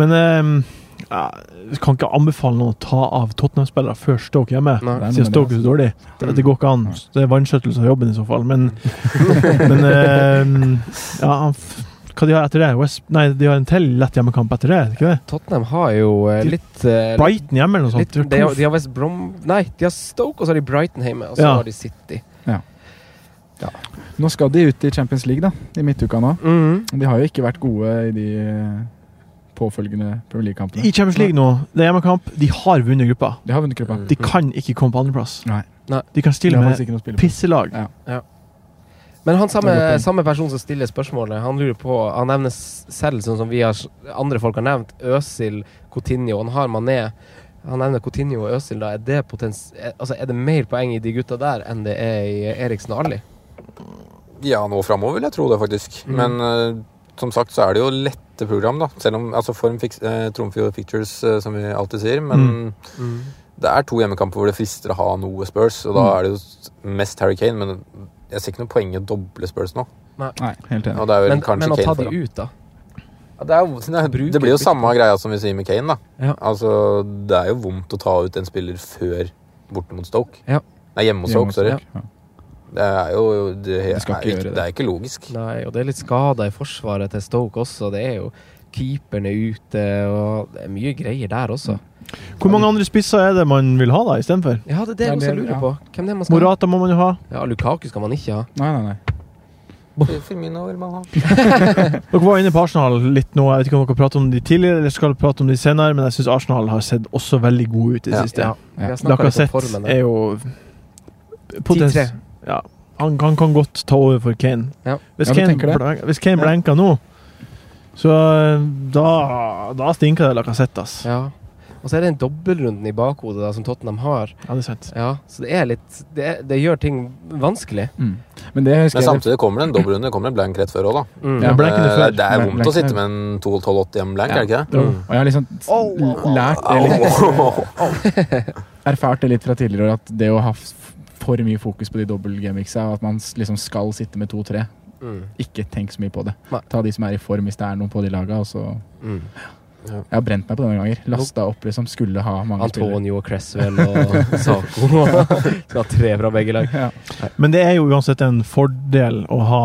Men ehm, jeg kan ikke anbefale noen å ta av Tottenham-spillere før Stoke hjemme. Nei. Siden Stoke er så dårlig. Det, det går ikke an. Det er vanskjøttelse av jobben i så fall. Men, men ehm, ja, han f- hva de har etter det? West, nei, de har en til lett hjemmekamp etter det, er det ikke det? Tottenham har jo eh, litt eh, Brighton hjemme eller noe sånt. litt, de, har, de har West Brom Nei, de har Stoke, og så har de Brighton hjemme, og så Ja. har de City. Nå skal de ut i Champions League da, i midtuka nå. Mhm. De har jo ikke vært gode i de eh, påfølgende Premier League-kampene. I Champions League nå, det er hjemmekamp, de har vunnet gruppa. De har vunnet gruppa. De kan ikke komme på andreplass. Nei. Nei. De kan stille De har med faktisk ikke noe å spille på. pisselag. Ja. Ja. Men han Det er samme, godt samme person som stiller spørsmålet, han lurer på Han nevner s- selv, sånn som vi har, andre folk har nevnt, Øsil, Coutinho. Han har Mané. Han nevner Coutinho og Øsil, da. Er det, potens, er, altså, er det mer poeng i de gutta der enn det er i Eriksen og Ali? Ja, nå framover vil jeg tro det, faktisk. Mm. Men eh, som sagt så er det jo lette program, da. Selv om altså form fiks- eh, trumfer jo pictures, eh, som vi alltid sier. Men Mm. Mm. det er to hjemmekamper hvor det frister å ha noe Spurs, og da Mm. er det jo s- mest Harry Kane. Men jeg ser ikke noe poeng i å doble Spurs nå. Nei. Nei, helt enig. Og det er vel Men, kanskje men å ta Kane de for, da. ut, da? Ja, det, er, jo- det blir jo samme greia som vi sier med Kane, da. Ja. Altså, det er jo vondt å ta ut en spiller før borte mot Stoke. Ja. Nei, hjemme mot Stoke, Hjemme mot sorry. Stoke, Det er jo det, skal er, ikke ikke, gjøre det. det er ikke logisk. Nei, og det er litt skader i forsvaret til Stoke også. Det er jo keeperen er ute, og det er mye greier der også. Hvor mange andre spisser er det man vil ha, da, istedenfor? Ja, det er det jeg også lurer på. Hvem det er man skal Morata må man jo ha. Ja, Lukaku skal man ikke ha. Nei, nei, nei. Firmino vil man ha. Dere var inne på Arsenal litt nå. Jeg vet ikke om dere prater om de tidligere, eller skal prate om de senere, men jeg syns Arsenal har sett også veldig gode ut i det Ja, siste. ja. Vi har snakket litt om formen Lacassette der. er jo potens- 10-3. Ja. Han, han kan godt ta over for Kane. Ja. Hvis, Ja, du Kane tenker det? blank, hvis Kane Ja. blenker nå, så eh, da, da stinker det Lacassette, ass. Ja. Og så er det den dobbeltrunden i bakhodet da, som Tottenham har. Ja, det er sant. Ja, så det er litt Det, er, det gjør ting vanskelig. Mm. Men det Men samtidig kommer det en dobbeltrunde. Det kommer en blank rett før òg, da. Mm. Ja, blanken er Eh, før. Det er Blanken vondt er å sitte før. med en 12-12-80 hjemme blank, er det ikke Jo, det? Og jeg har liksom s- l- lært det litt. Erfart det litt fra tidligere år at det å ha f- for mye fokus på de dobbeltgamingsa, at man s- liksom skal sitte med to-tre Mm. Ikke tenk så mye på det. Ta de som er i form, hvis det er noen på de laga, og så Mm. Jeg har brent meg på det noen ganger. Lasta opp liksom, skulle ha mange Antonio og Cresswell og Saco. Skal ha tre fra begge lag. Ja. Men det er jo uansett en fordel å ha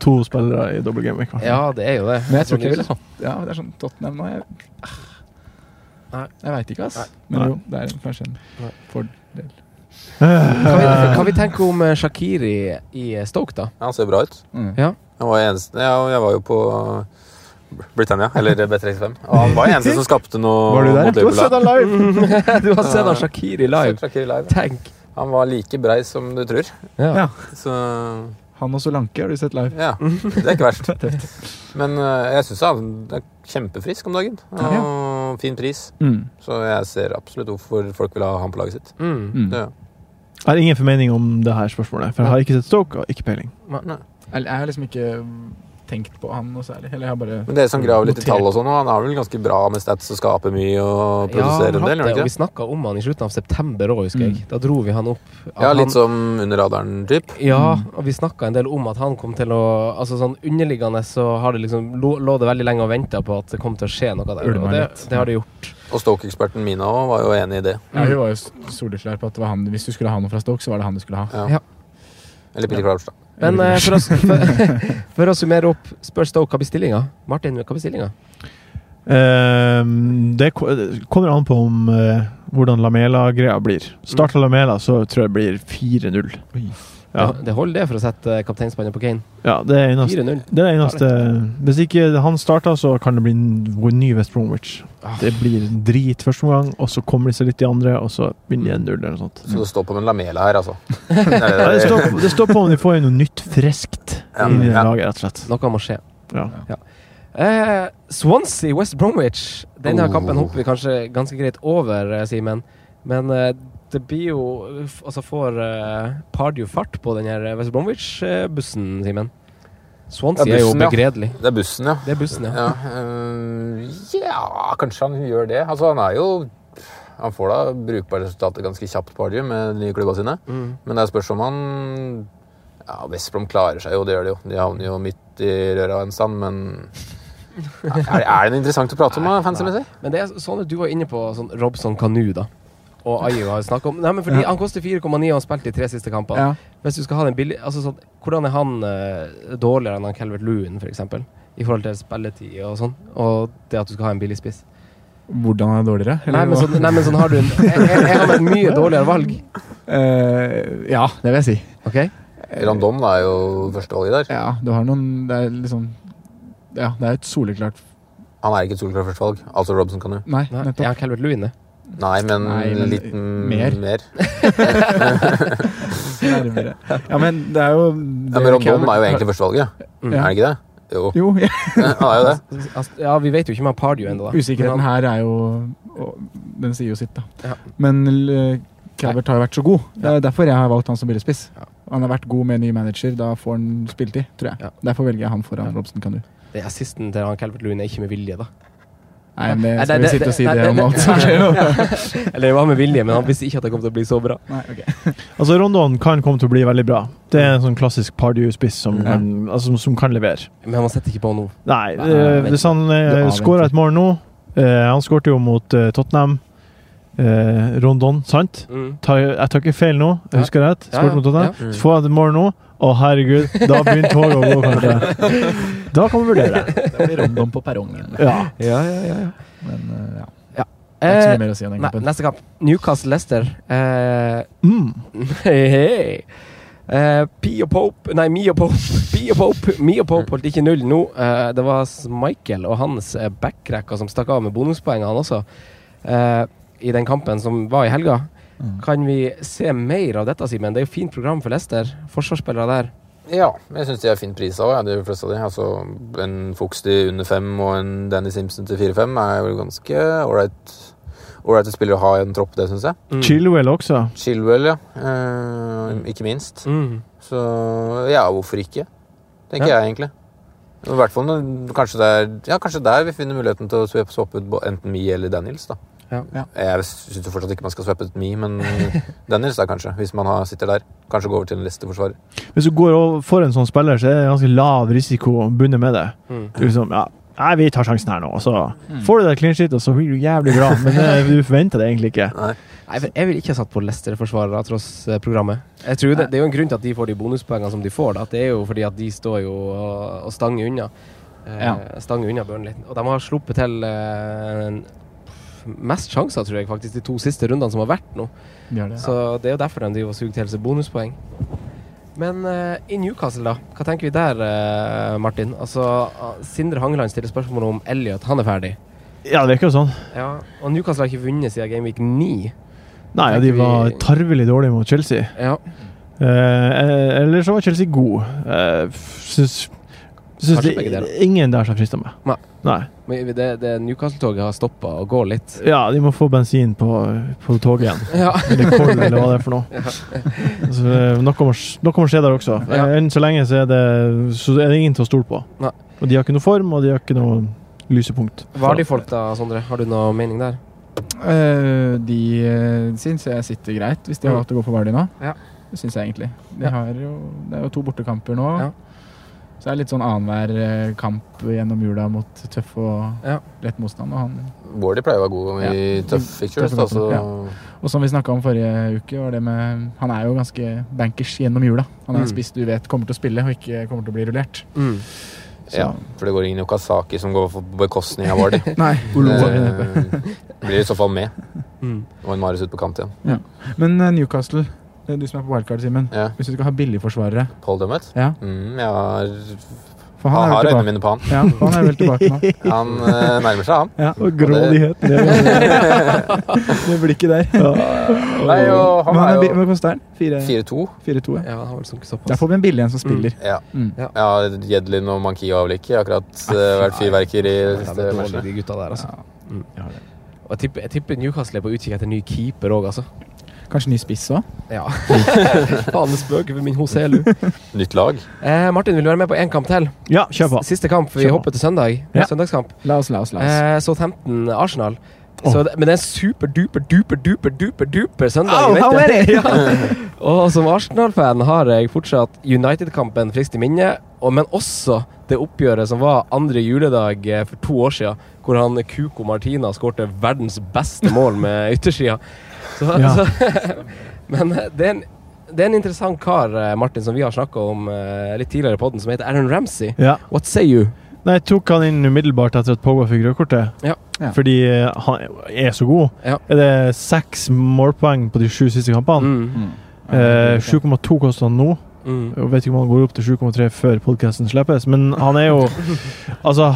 to spillere i double game. Ja, det er jo det. Men jeg tror ikke jeg ville hatt Ja, det er sånn Tottenham nå. Jeg, Ah. Nei. jeg veit ikke, ass. Nei. Men Nei. jo, det er kanskje en fordel. Kan vi, kan vi tenke om eh, Shaqiri i eh, Stoke, da? Ja, Han ser bra ut. Ja. Han var eneste, ja, og jeg var jo på Britannia, eller B365. Og han var eneste som skapte noe Var du der? mot Du har sett han live. Liverpool. Du har sett han Ja. Shaqiri live. Sett Shaqiri live. Tenk. Han var like brei som du tror. Ja. Ja. Så Han og Solanke har du sett live. ja, det er ikke verst. Men eh, jeg syns han er kjempefrisk om dagen. Og fin pris. Mm. Så jeg ser absolutt hvorfor folk vil ha han på laget sitt. Mm. Ja. Jeg har ingen formening om det her spørsmålet, for jeg har ikke sett Stoke og ikke peiling. Jeg, jeg har liksom ikke tenkt på han noe særlig. Eller jeg har bare Men dere som graver litt i notert. tall og sånn, han er vel ganske bra med stats og skaper mye og produserer en han hadde- del? gjør han og ikke vi det? snakka om han i slutten av september òg, husker Mm. jeg. Da dro vi han opp. At Ja, han- litt som under radaren-typ. Ja, Mm. og vi snakka en del om at han kom til å Altså sånn underliggende så har det liksom lå, lå det veldig lenge og venta på at det kom til å skje noe der. Ulmer Og det, litt. det har det gjort. Og Stoke-eksperten Mina også var jo enig i det. Ja, hun var jo s- soleklar på at det var han, hvis du skulle ha noe fra Stoke, så var det han du skulle ha. Ja. Eller Peter Crouch, da. Men eh, for, å, for, for å summere opp, spør Stoke hva blir stillinga? Martin, hva blir stillinga? Ehm, det ko- det kommer an på om eh, hvordan Lamela-greia blir. Starter Lamela, så tror jeg det blir 4-0. Ja. Det, det holder det for å sette eh, kapteinspannet på Kane. ja, det er eneste, 4-0. det er eneste Hvis ikke han starter, så kan det bli en v- ny West Bromwich. Det blir drit første omgang, og så kommer de seg litt i andre, og så vinner de 1-0 eller noe sånt. Så det står på med en lamela her, altså. Ja, det, står, det står på om de får inn noe nytt, friskt Ja, inn i det ja. laget, rett og slett. Noe må skje. Ja. Ja. Eh, Swansea, West Bromwich. Denne Oh. kampen hopper vi kanskje ganske greit over, eh, Simen. Men eh, det blir jo f- Altså får eh, Pardew fart på den her eh, West Bromwich-bussen, Simen? Swansea er jo begredelig. Ja. Det er bussen, ja. Det er bussen, ja. eh, ja, kanskje han gjør det. Altså, han er jo Han får da brukbare resultater ganske kjapt på Ardium med de nye klubba sine. Mm. Men det er spørs om han Ja, West Brom klarer seg jo, det gjør de jo. De havner jo midt i røra en stand, men er, er den interessant å prate om, da, fancy-messig? Men det er sånn at du var inne på sånn Robson Kanu, da. Og Ayu har snakket om Nei, men fordi Ja. Han koster 4,9 og han spilte de tre siste kampene. Ja. Hvis du skal ha den billig altså sånn, Hvordan er han eh, dårligere enn han Calvert Lewin, f.eks.? I forhold til spilletid og sånn. Og det at du skal ha en billig spiss. Hvordan er det dårligere? Nei men, sånn, nei, men sånn har du en Jeg, jeg, jeg har med et mye dårligere valg. Eh, ja, det vil jeg si. Ok? Random da er jo førstevalget der. Ja, du har noen Det er liksom Ja, det er et soleklart Han er ikke et soleklart førstevalg, altså Robson Canu. Nei, nettopp. Jeg har Calvert Lewin, det. Nei, men, Nei, men litt mer. mer. Nærmere. Ja, men det er jo Ja, men Rondon er jo egentlig førstevalget. Mm. Er det ikke det? Jo. Jo, ja. ja, er jo det. Altså, Ja, vi vet jo ikke om han Pardew ennå. da. Usikkerheten Men han- her er jo og Den sier jo sitt, da. Men eh, Calvert har jo vært så god. Det er derfor jeg har valgt han som billigspiss. Han har vært god med ny manager. Da får han spilletid, tror jeg. Derfor velger jeg han foran Robson Kanu. Det er assisten til han Calvert Lewin er ikke med vilje, da. Nei, men eh, skal vi sitte og si det om alt som som skjer nå? skjer? Eller det var med vilje, men han visste ikke at det kom til å bli så bra. Altså, Rondon kan komme til å bli veldig bra. Det er en sånn klassisk Pardew-spiss som, Mm. Ja. kan- altså, som, som kan levere. Men man setter ikke på nå. Nei, Nei, eh, vet hvis han ikke. Det eh, avventer. skårer et mål nå eh, Han skårte jo mot eh, Tottenham. Eh, Rondon, sant? Mm. Tar, jeg tar ikke feil nå, jeg husker rett. Ja, Skårte ja, mot Tottenham. ja. Mm. Så får jeg et mål nå. Å, herregud, da begynner toget å gå, kanskje. Da kan vi vurdere. Da blir Rondon på perrongen. Ja. Ja, ja, ja, ja. Men eh, ja. Ja. Det er ikke så mye Eh, mer å si om den nei, kampen. Neste kamp. Newcastle-Lester. Eh, hei, hei. Eh, P og Pope Nei, Mio Pope. P og Pope Mio Pope holdt ikke null nå. Eh, det var S- Michael og hans eh, backcracker som stakk av med bonuspoengene, han også, eh, i den kampen som var i helga. Kan vi se mer av dette, Simen? Det er jo fint program for Lester. Forsvarsspillere der. Ja, jeg syns de er fint prisa òg, ja, de fleste av de. Altså, en Fuchs til under fem og en Danny Simpson til fire-fem er vel ganske ålreit ålreit å spille og ha i en tropp, det syns jeg. Mm. Chilwell også. Chilwell, ja. Eh, ikke minst. Mm. Så ja, hvorfor ikke? Tenker Ja. jeg egentlig. I hvert fall når- kanskje der, ja, kanskje der vi finner muligheten til å swappe- swappe ut bo- enten Mi eller Daniels. da. Ja. Jeg syns fortsatt ikke man skal swappe ut Mi, men Daniels da kanskje. Hvis man har, sitter der. Kanskje gå over til en Leicester-forsvarer. Hvis du går over for en sånn spiller, så er det ganske lav risiko bundet med det. Mm. Du liksom, ja, nei, vi tar sjansen her nå, og så får du det clean shit, og så blir du jævlig bra. Men eh, du forventer det egentlig ikke. Nei, for jeg vil ikke ha satt på Leicester-forsvarere tross eh, programmet. Jeg tror det, det er jo en grunn til at de får de bonuspoengene som de får. Da. Det er jo fordi at de står jo og, og stanger unna. Eh, Ja. Stanger unna Burnley. Og de har sluppet til eh, en- mest sjanser, tror jeg, faktisk, de to siste rundene som har vært nå. De har det, ja. Så det er jo derfor de driver og suger til seg bonuspoeng. Men eh, i Newcastle, da. Hva tenker vi der, eh, Martin? Altså, ah, Sindre Hangeland stiller spørsmål om Elliot. Han er ferdig. Ja, det virker jo sånn. Ja, og Newcastle har ikke vunnet siden Gameweek 9. Nei, ja, de var tarvelig dårlige mot Chelsea. Ja. Eh, eller så var Chelsea god. Eh, f- syns syns Kanskje det begge deler. ingen der som frister meg. Nei. Nei. Men det, det Newcastle-toget har stoppa og går litt. Ja, de må få bensin på, på toget igjen. Ja. Eller kold, eller hva det er for noe. Ja. Så, eh, noe, må, noe må skje der også. Ja. Eh, Enn så lenge så er, det, så er det ingen til å stole på. Nei. Og de har ikke noe form, og de har ikke noe lysepunkt. Hva er de folk da, Sondre? Har du noe mening der? Eh, de uh, syns jeg sitter greit, hvis de har Mm. valgt å gå for Vardy nå. Ja. Det syns jeg egentlig. De Ja. har jo, det er jo to bortekamper nå. Så det er litt sånn annenhver eh, kamp gjennom jula mot tøff og lett motstand. Og han Wardy pleier å være god i altså. Ja. tøff fixtures. Tøffe Da, så kampene, ja. Og som vi snakka om forrige uke, var det med Han er jo ganske bankers gjennom jula. Han er en Mm. spiss du vet kommer til å spille, og ikke kommer til å bli rullert. Mm. Så- ja, For det går ingen Okazaki som går på bekostning av Wardy. Nei, Oloa er Det eh, blir i så fall med. Mm. Og en Marius ut på kant igjen. Ja. Men eh, Newcastle, eh, du som er på wildcard, Simen. Ja. Hvis du skal ha billigforsvarere Paul Dummett? Ja. Mm, jeg har For han er har vel tilbake. øynene mine på han. Ja, for han er vel tilbake nå. Han eh, nærmer seg, han. Ja, og det- grådigheten, det var- det blikket der. Nei, og han Men er han er, jo- bi- Hva koster han? Fire- 4-2. 4-2, ja. Ja, han liksom har vel sunket såpass. Der får vi en billig en som spiller. Ja. Mm. ja, Jedlin og Mankio har vel ikke akkurat eh, vært fyrverkeri i de Ja, siste det er dårlig, de matchene. gutta der, altså. Mm. Og jeg tipper, jeg tipper Newcastle er på utkikk etter ny keeper òg, altså. Kanskje ny spiss òg? Ja. Faen, det spøker for min Hoselu. Nytt lag. Eh, Martin, vil du være med på én kamp til? Ja, kjør på. S- Siste kamp, for vi Kjør på. hopper til søndag. Ja. Søndagskamp. La oss, la oss, la oss. Eh, Southampton, Arsenal. Så det, men det er en super, duper, duper, duper, duper, duper søndag. Au, vet how det. many? Ja. Og som Arsenal-fan har jeg fortsatt United-kampen friskt i minne, og, men også det oppgjøret som var andre juledag eh, for to år siden, hvor han Cuco Martina skårte verdens beste mål med yttersida. Så, Ja. så, men eh, det er, en, det er en interessant kar, eh, Martin, som vi har snakka om eh, litt tidligere i podden, som heter Aaron Ramsey. Ja. What say you? Nei, jeg tok han inn umiddelbart etter at Pogba fikk rødkortet. Ja. Ja. Fordi eh, han er så god. Er det seks målpoeng på de sju siste kampene? Eh, 7,2 koster han nå. Mm. Jeg vet ikke om han går opp til 7,3 før podkasten slippes, men han er jo Altså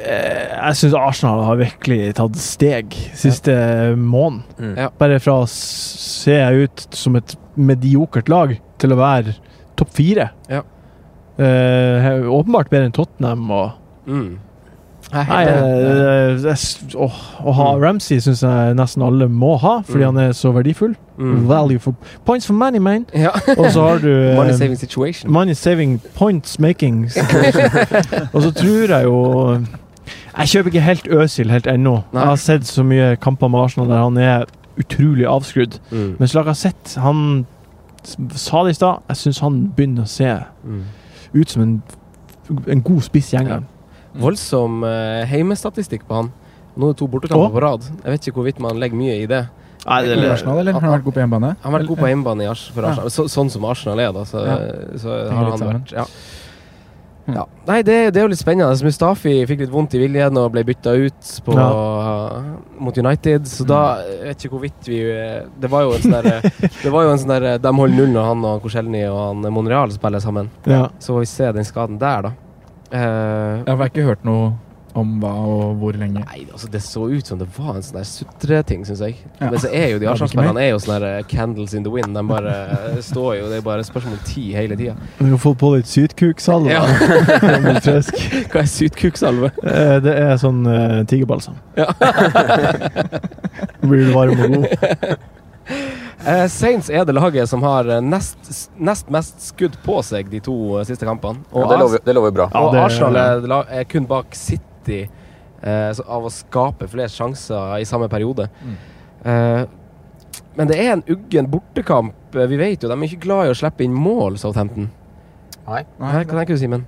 eh, jeg syns Arsenal har virkelig tatt steg siste måneden. Mm. Ja. Bare fra å se ut som et mediokert lag til å være topp fire. Ja. Eh, åpenbart bedre enn Tottenham og mm, Jeg er Nei, helt enig. eh, jeg s- åh, Å ha Ramsey syns jeg nesten alle må ha, fordi Mm. han er så verdifull. Mm. Value for points for money, man. Ja. Og så har du eh, Money saving situation. Money saving points making situation. Og så tror jeg jo Jeg kjøper ikke helt Øsil helt ennå. Jeg har sett så mye kamper med Arsenal der han er utrolig avskrudd. Mm. Men Slagazett, han s- sa det i stad, jeg syns han begynner å se Mm. ut som en, en god spiss gjenger. Voldsom eh, heimestatistikk på han. Nå er det to bortekamper Å? på rad. Jeg vet ikke hvorvidt man legger mye i det. Nei, I Arsenal, eller? Har han vært god på hjemmebane? Han har vært god på hjemmebane i Ars for Ja. Arsenal, så, sånn som Arsenal er, da. Så, Ja. så Henger har litt han sammen. Mm. vært ja. ja. Nei, det, det er jo litt spennende. Så Mustafi fikk litt vondt i viljen og ble bytta ut på, eh, mot United, så da Mm. jeg vet ikke hvorvidt vi eh, Det var jo en sånn der Det var jo en sånn der De holder null når han og Korselny og han Monreal spiller sammen. Ja. Så får vi se den skaden der, da. Eh, Jeg har ikke hørt noe om hva og hvor lenge. Nei, altså Det så ut som det var en sånn der sutreting, syns jeg. Ja. Men så er jo de Ja, det er ikke mer. Arsenal-spillerne er jo sånne der eh, candles in the wind. De bare eh, står jo, det er bare spørsmål om tid hele tida. Du har fått på litt sytkuksalve. Ja. Det blir frisk. Hva er sutkuksalve? Eh, Det er sånn eh, tigerbalsam. Ja. Blir du varm og god. Eh, Saints er det laget som har eh, nest, nest mest skudd på seg de to eh, siste kampene. Ja, det lover- det lover bra. Og Ja, det- Arsenal er, la- er kun bak City eh, så- av å skape flest sjanser i samme periode. Eh, men det er en uggen bortekamp. Eh, Vi vet jo, de er ikke glad i å slippe inn mål, Southampton. Nei. Nei, Hva tenker du, Simen?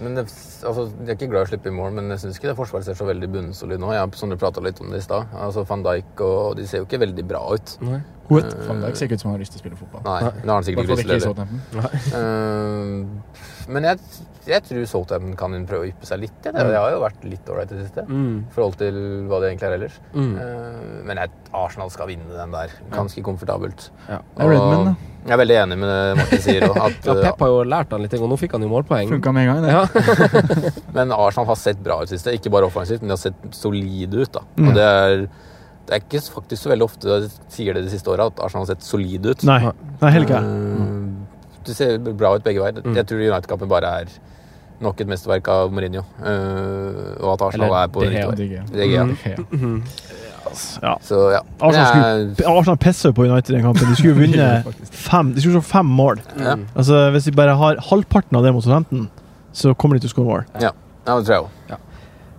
Men det, altså, jeg er ikke glad i å slippe i mål, men jeg syns ikke det forsvaret ser så veldig bunnsolid nå. Jeg har Sondre prata litt om det i stad. Altså, Van Dijk og De ser jo ikke veldig bra ut. Nei. Hoet Eh, van Dijk ser ikke ut som han har lyst til å spille fotball. Nei, det har han sikkert ikke lyst til heller. Eh, Men jeg, jeg tror Southampton kan prøve å yppe seg litt. Ja. Det, Mm. det har jo vært litt ålreit i det siste. Mm. I forhold til hva det egentlig er ellers. Mm. Eh, Men jeg, Arsenal skal vinne den der. Ganske komfortabelt. Ja. Det er Redmond, da. jeg er veldig enig med det Martin sier. og At, Ja, Pep har jo lært han litt, og nå fikk han jo målpoeng. Funka med en gang, det. Men Arsenal har sett bra ut siste. Ikke bare offensivt, men de har sett solide ut. da. Mm. Og det er, det er ikke faktisk så veldig ofte jeg sier det de siste åra, at Arsenal har sett solide ut. Nei, nei heller ikke. Eh, Det ser bra ut begge veier. Jeg tror United-kampen bare er nok et mesterverk av Mourinho. eh, og at Arsenal Eller er på De riktig Gea. vei. De Gea. De Gea. Mm. Ja. Så ja. Arsenal, Jeg- skulle, Arsenal pisser på United i den kampen. De skulle vunne fem, de skulle slå fem mål. Ja. Altså, hvis de bare har halvparten av det mot Southampton, så kommer de til å skåre mål. ja. ja, det tror jeg òg.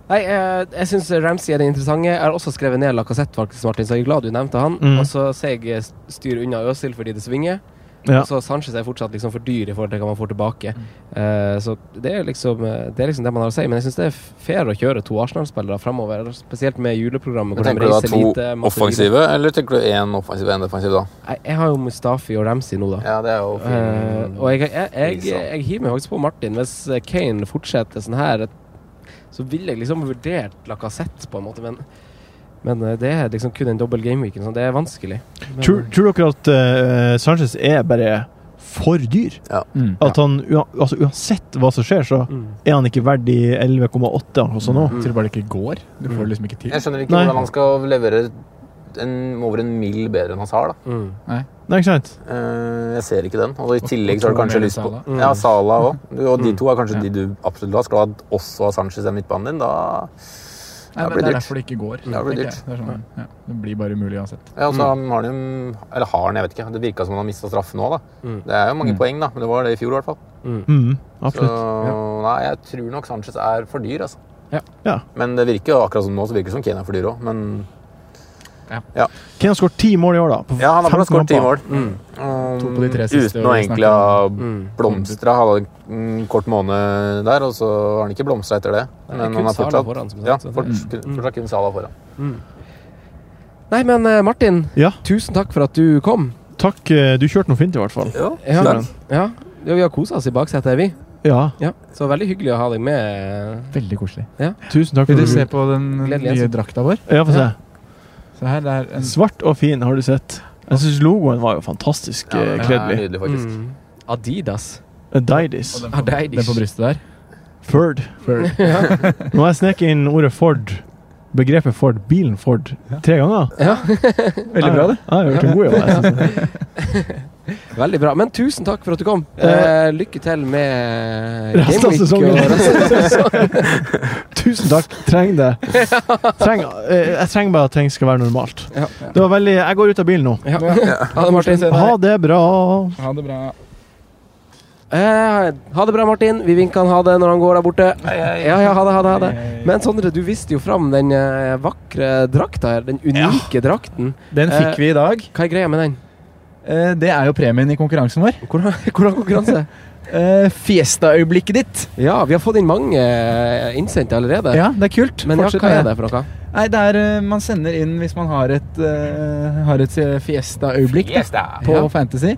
Nei, jeg, jeg syns Ramsey er den interessante. Jeg har også skrevet ned Lacassette, faktisk, Martin, så jeg er glad du nevnte han. Mm. Og så ser jeg eh, styr unna Øsil fordi det svinger. Ja. Og så Sanchez er fortsatt liksom for dyr i forhold til hva man får tilbake. Eh, så det er, liksom, eh, det er liksom det man har å si. Men jeg syns det er f- fair å kjøre to Arsenal-spillere framover, spesielt med juleprogrammet. Men hvor de Tenker du da reiser to lite, masse offensive, eller tenker du én offensiv og én defensiv, da? hvile. Nei, Jeg har jo Mustafi og Ramsey nå, da. Ja, det er jo fin Eh, og jeg, jeg, jeg, pris, da. jeg hiver meg faktisk på Martin. Hvis eh, Kane fortsetter sånn her, så ville jeg liksom vurdert Lacassette, på en måte. Men, men eh, det er liksom kun en dobbel gameweek. Så det er vanskelig. Men, Tror, tror dere at eh, Sanchez er bare for dyr? Mm. At han, ua- altså, uansett hva som skjer, så mm, er han ikke verdt de 11,8 han koster nå. Mm. Til bare det ikke går. Du får liksom ikke tid. Jeg skjønner ikke Nei. hvordan han skal levere en, over en mil bedre enn Hazard. Da. mm, Nei. Nei, ikke sant? Eh, jeg ser ikke den. Og i tillegg og så har du to kanskje mer enn lyst på Salah. Sala. Ja, Sala òg. Og de Mm. to er kanskje Ja. de du absolutt har. Skal du ha også ha Sanchez i midtbanen din, da Nei, da blir men det det er dyrt. derfor det ikke går. Da blir det tenker jeg. dyrt. Det, er sånn, ja. det blir bare umulig uansett. Ja, og så Mm. har han jo Eller har han, jeg vet ikke. Det virka som han har mista straffen nå, da. Mm. Det er jo mange Mm. poeng, da. Men det var det i fjor, i hvert fall. Mm, Så absolutt. nei, jeg tror nok Sanchez er for dyr, altså. Ja. Ja. Men det virker jo akkurat som nå, så virker det som Kane er for dyr òg, men Ja. Kane har skåret ti mål i år, da. på Ja, han har bare 15 skåret ti mål. kamper. Um, To på de tre siste uten å vi egentlig snakket ha om. Mm. blomstra. Han hadde en kort måned der, og så har han ikke blomstra etter det. Nei, Men kun han har Salah fortsatt, foran, altså. som sagt, ja, så det- fort, fortsatt kun Salah foran. Nei, men eh, Martin, Ja. tusen takk for at du kom. Takk. eh, Du kjørte noe fint, i hvert fall. Ja, Takk. ja. Ja, vi har kosa oss i baksetet, vi. Ja. Ja. Så veldig hyggelig å ha deg med. eh, Veldig koselig. Ja. Tusen takk Vil for du se på den Gledelig, nye altså. drakta vår? Ja, få se. Se her, det er en Svart og fin, har du sett. Jeg syns logoen var jo fantastisk Ja, eh, den er Mm. kledelig. nydelig, faktisk. Adidas. Adidas. og den på, Adidas. den på brystet der. Ford. Ford. Ja. Nå har jeg sneket inn ordet Ford, begrepet Ford, bilen Ford, tre ganger. Veldig bra, det. Ja, jeg har gjort en god jobb. Jeg synes. Veldig bra. Men tusen takk for at du kom. Eh, lykke til med Resten av Gameweek sesongen. og resten av sesongen. Tusen takk. Trenger det. Treng, eh, jeg trenger bare at ting skal være normalt. Ja. Det var veldig Jeg går ut av bilen nå. Ha det, Martin. Ha det bra. Ha det bra. Eh, ha det bra, Martin. Vi vinker han ha det når han går der borte. Ja, ja, ha det, ha det, ha det. Men Sondre, du viste jo fram den eh, vakre drakta her. Den unike drakten. Den fikk vi i dag. Hva er greia med den? Eh, Det er jo premien i konkurransen vår. Eh, Hvordan, konkurranse? Fiesta-øyeblikket ditt. Ja, vi har fått inn mange eh, innsendte allerede. Ja, det er kult. Men ja, Fortsett hva med er det det. for noe? Nei, det er eh, Man sender inn hvis man har et, eh, har et eh, fiesta-øyeblikk da, Fiesta. på Ja. Fantasy.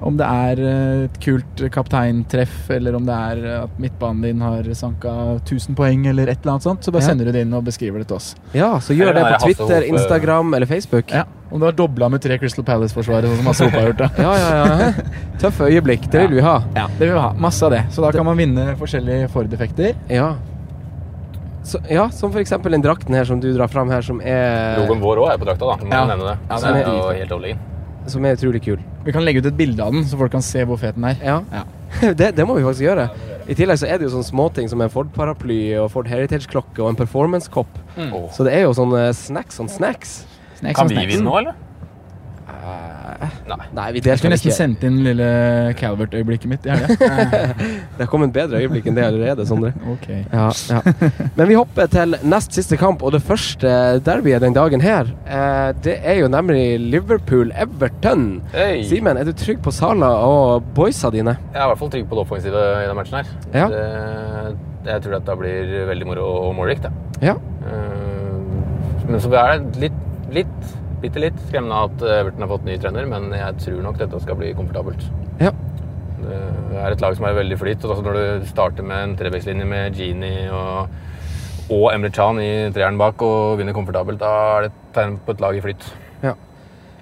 Om det er eh, et kult kapteintreff, eller om det er eh, at midtbanen din har sanka 1000 poeng, eller et eller annet sånt, så bare Ja. sender du det inn og beskriver det til oss. Ja, så gjør det på Twitter, Instagram eller Facebook. Ja, Om du har dobla med tre Crystal Palace-forsvarere, sånn som Hasse Hope har gjort. da Ja, ja, ja. Tøffe øyeblikk. Det vil vi ha. Ja, det vil vi ha. Masse av det. Så da kan man vinne forskjellige Ford-effekter. Ja. Så, ja, som for eksempel den drakten her som du drar fram her, som er Logoen vår òg er på drakta, da. Må Ja. nevne det. Ja, Så den det er er jo dritfett. helt overlegen. Som er utrolig kul. Vi kan legge ut et bilde av den, så folk kan se hvor fet den er. Ja. det, det må vi faktisk gjøre. I tillegg så er det jo sånne småting som en Ford-paraply og Ford Heritage-klokke og en performance-kopp. Mm. Åh. Så det er jo sånne snacks on snacks. Snacks Kan on vi snacks. vinne nå, eller? Nei. Nei, vi Jeg skulle deltar nesten ikke. sendt inn lille Calvert-øyeblikket mitt. i helga. Det har kommet bedre øyeblikk enn det allerede, Sondre. Ok. Ja, ja. Men vi hopper til nest siste kamp, og det første derbyet den dagen her, eh, det er jo nemlig Liverpool-Everton. Hey. Simen, er du trygg på Sala og boysa dine? Jeg er i hvert fall trygg på det offensive i denne matchen her. Ja. Det, jeg tror at det blir veldig moro og målrikt, det. Ja. Eh, Men så er det litt, litt, bitte litt skremmende at eh, Everton har fått ny trener, men jeg tror nok dette skal bli komfortabelt. Ja. Det er et lag som er veldig flyt, og altså når du starter med en trebekslinje med Genie og, og Emre Can i treeren bak og vinner komfortabelt, da er det et tegn på et lag i flyt. Ja.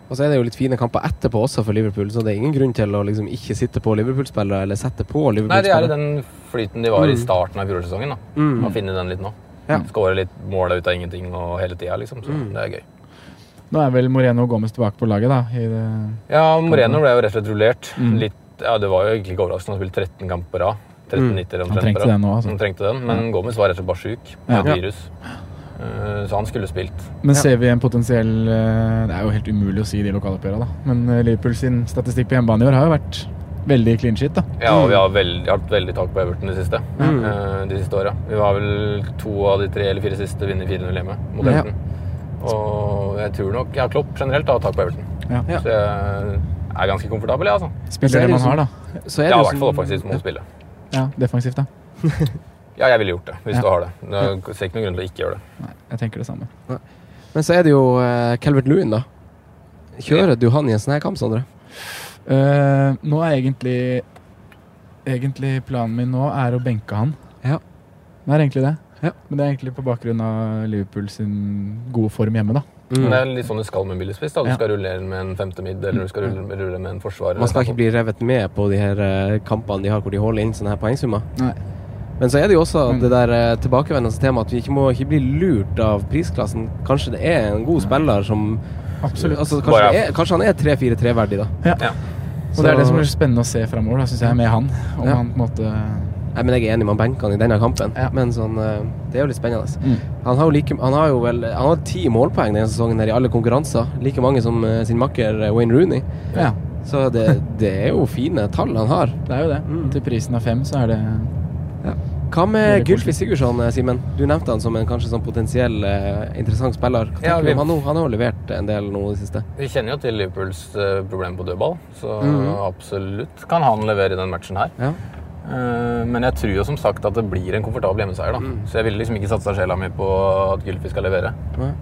Og så er det jo litt fine kamper etterpå også for Liverpool, så det er ingen grunn til å liksom ikke sitte på Liverpool-spillere eller sette på Nei, de er i Liverpool-spillere. den flyten de var i Mm. starten av fjorårssesongen. da. Mm. Har funnet den litt nå. Ja. Mm. Skårer litt mål ut av ingenting og hele tida, liksom. Så det er gøy. Nå er vel Moreno og Gomez tilbake på laget, da. I det Ja, Moreno ble jo rett og slett rullert. Mm. Litt, ja, det var jo egentlig ikke overraskende. Han spilte 13 kamper på rad. 13 Mm. nitter Han omtrent trengte på rad. den nå, altså. Han trengte den, men Gomez var rett og slett bare sjuk. Ja. Med Ja. et virus. Eh, Så han skulle spilt. Men ser vi en potensiell eh, Det er jo helt umulig å si de lokaloppgjørene, da. Men eh, Liverpool sin statistikk på hjemmebane i år har jo vært veldig clean shit, da. Ja, og vi har veldig, hatt veldig tak på Everton de siste, Mm. eh, de siste åra. Vi var vel to av de tre eller fire siste vinner 4-0 hjemme mot Ja. Everton. Og jeg tror nok Ja, Klopp generelt har tak på Everton. Ja. Så jeg er ganske komfortabel, jeg, altså. Spiller det man har, da. Så er det ja, jo i hvert fall som- offensivt mot spillet. Ja, defensivt, da. Ja, jeg ville gjort det hvis Ja. du har det. Det ser ikke noen grunn til å ikke gjøre det. Jeg tenker det samme. Men så er det jo eh, Calvert Lewin, da. Kjører du han i en sånn her kamp, Sondre? Eh, nå er egentlig Egentlig planen min nå er å benke han. Ja. Det er egentlig det. Ja. Men det er egentlig på bakgrunn av Liverpool sin gode form hjemme, da. Mm. Men det er litt sånn du skal med billigspiss. da. Du Ja. skal rullere med en femte midd, eller du skal rulle, rulle med en forsvarer. Mm. Man skal ikke bli revet med på de her eh, kampene de har hvor de holder inn sånne her poengsummer. Nei. Mm. Men så er det jo også det der eh, tilbakevendende temaet at vi ikke må ikke bli lurt av prisklassen. Kanskje det er en god spiller som Absolutt. Altså, kanskje, Bare- det er, kanskje han er 3-4-3-verdig, da. Ja. Og det er det som blir spennende å se framover, syns jeg, med han. Om Ja. han på en måte Nei, men Jeg er enig med han benkene i denne kampen, men sånn, eh, det er jo litt spennende. Mm. Han har jo like, han har jo vel Han har ti målpoeng denne sesongen her i alle konkurranser. Like mange som eh, sin makker eh, Wayne Rooney. Ja. Så det, det er jo fine tall han har. Det er jo det. Til prisen av fem, så er det Hva med Veldig Gylfi Sigurdsson, eh, Simen? Du nevnte han som en kanskje sånn potensiell eh, interessant spiller. Hva Ja, tenker du vi- om han nå? Han har jo levert en del nå i det siste. Vi kjenner jo til Liverpools eh, problem på dødball, så Mhm. absolutt kan han levere i den matchen her. Ja. Eh, Men jeg tror jo som sagt at det blir en komfortabel hjemmeseier. da. Mm. Så jeg ville liksom ikke satsa sjela mi på at Gylfi skal levere. Nei.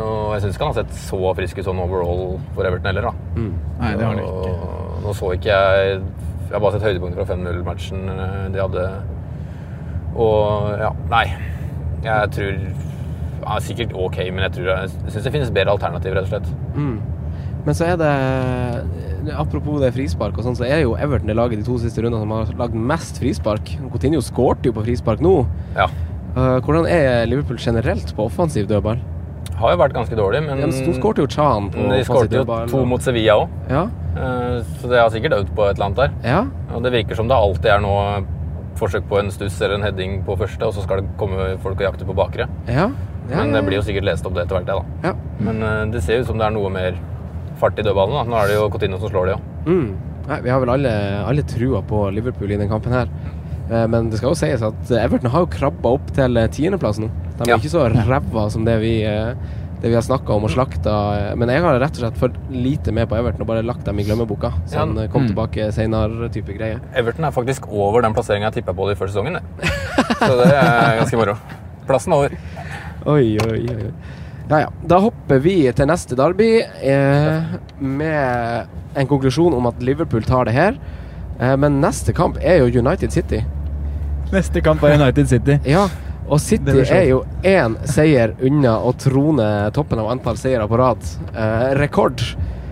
Og jeg syns ikke han har sett så frisk ut sånn overall for Everton heller, da. Nei, det har han ikke. Og Nå så ikke jeg Jeg har bare sett høydepunkter fra 5-0-matchen eh, de hadde. Og ja, nei. Jeg tror Han er sikkert ok, men jeg tror jeg syns det finnes bedre alternativer, rett og slett. Mm. Men så er det Apropos det frispark og sånn, så er jo Everton det laget de to siste rundene som har lagd mest frispark. Coutinho skårte jo på frispark nå. Ja. Eh, hvordan er Liverpool generelt på offensiv dødball? Har jo vært ganske dårlig, men Ja, men så skårte jo Chan på Mm. De offensiv skårte jo dødball, to og- mot Sevilla òg. Ja. Så det har sikkert øvd på et eller annet der. Ja. Og det virker som det alltid er noe forsøk på en stuss eller en heading på første, og så skal det komme folk og jakte på bakre. Ja. Ja, Men ja, det blir jo sikkert lest opp det etter hvert, det, da. Ja. Men eh, det ser ut som det er noe mer fart i dødballen. da. Nå er det jo Coutinho som slår det, ja. Mm. Nei, vi har vel alle, alle trua på Liverpool i den kampen her. Eh, Men det skal jo sies at Everton har jo krabba opp til eh, tiendeplass nå. De er Ja. ikke så ræva som det vi, eh, det vi har snakka om og slakta. eh, Men jeg har rett og slett for lite med på Everton og bare lagt dem i glemmeboka. Ja. Sånn eh, kom Mm. tilbake seinere-type greie. Everton er faktisk over den plasseringa jeg tippa på det i første sesongen, det. Så det er ganske moro. Plassen over. Oi, oi, oi. Ja, ja. Da hopper vi til neste derby eh, med en konklusjon om at Liverpool tar det her. Eh, men neste kamp er jo United City. Neste kamp er United City. Ja, og City blir er sjokk. jo én seier unna å trone toppen av antall seire på rad. Eh, rekord.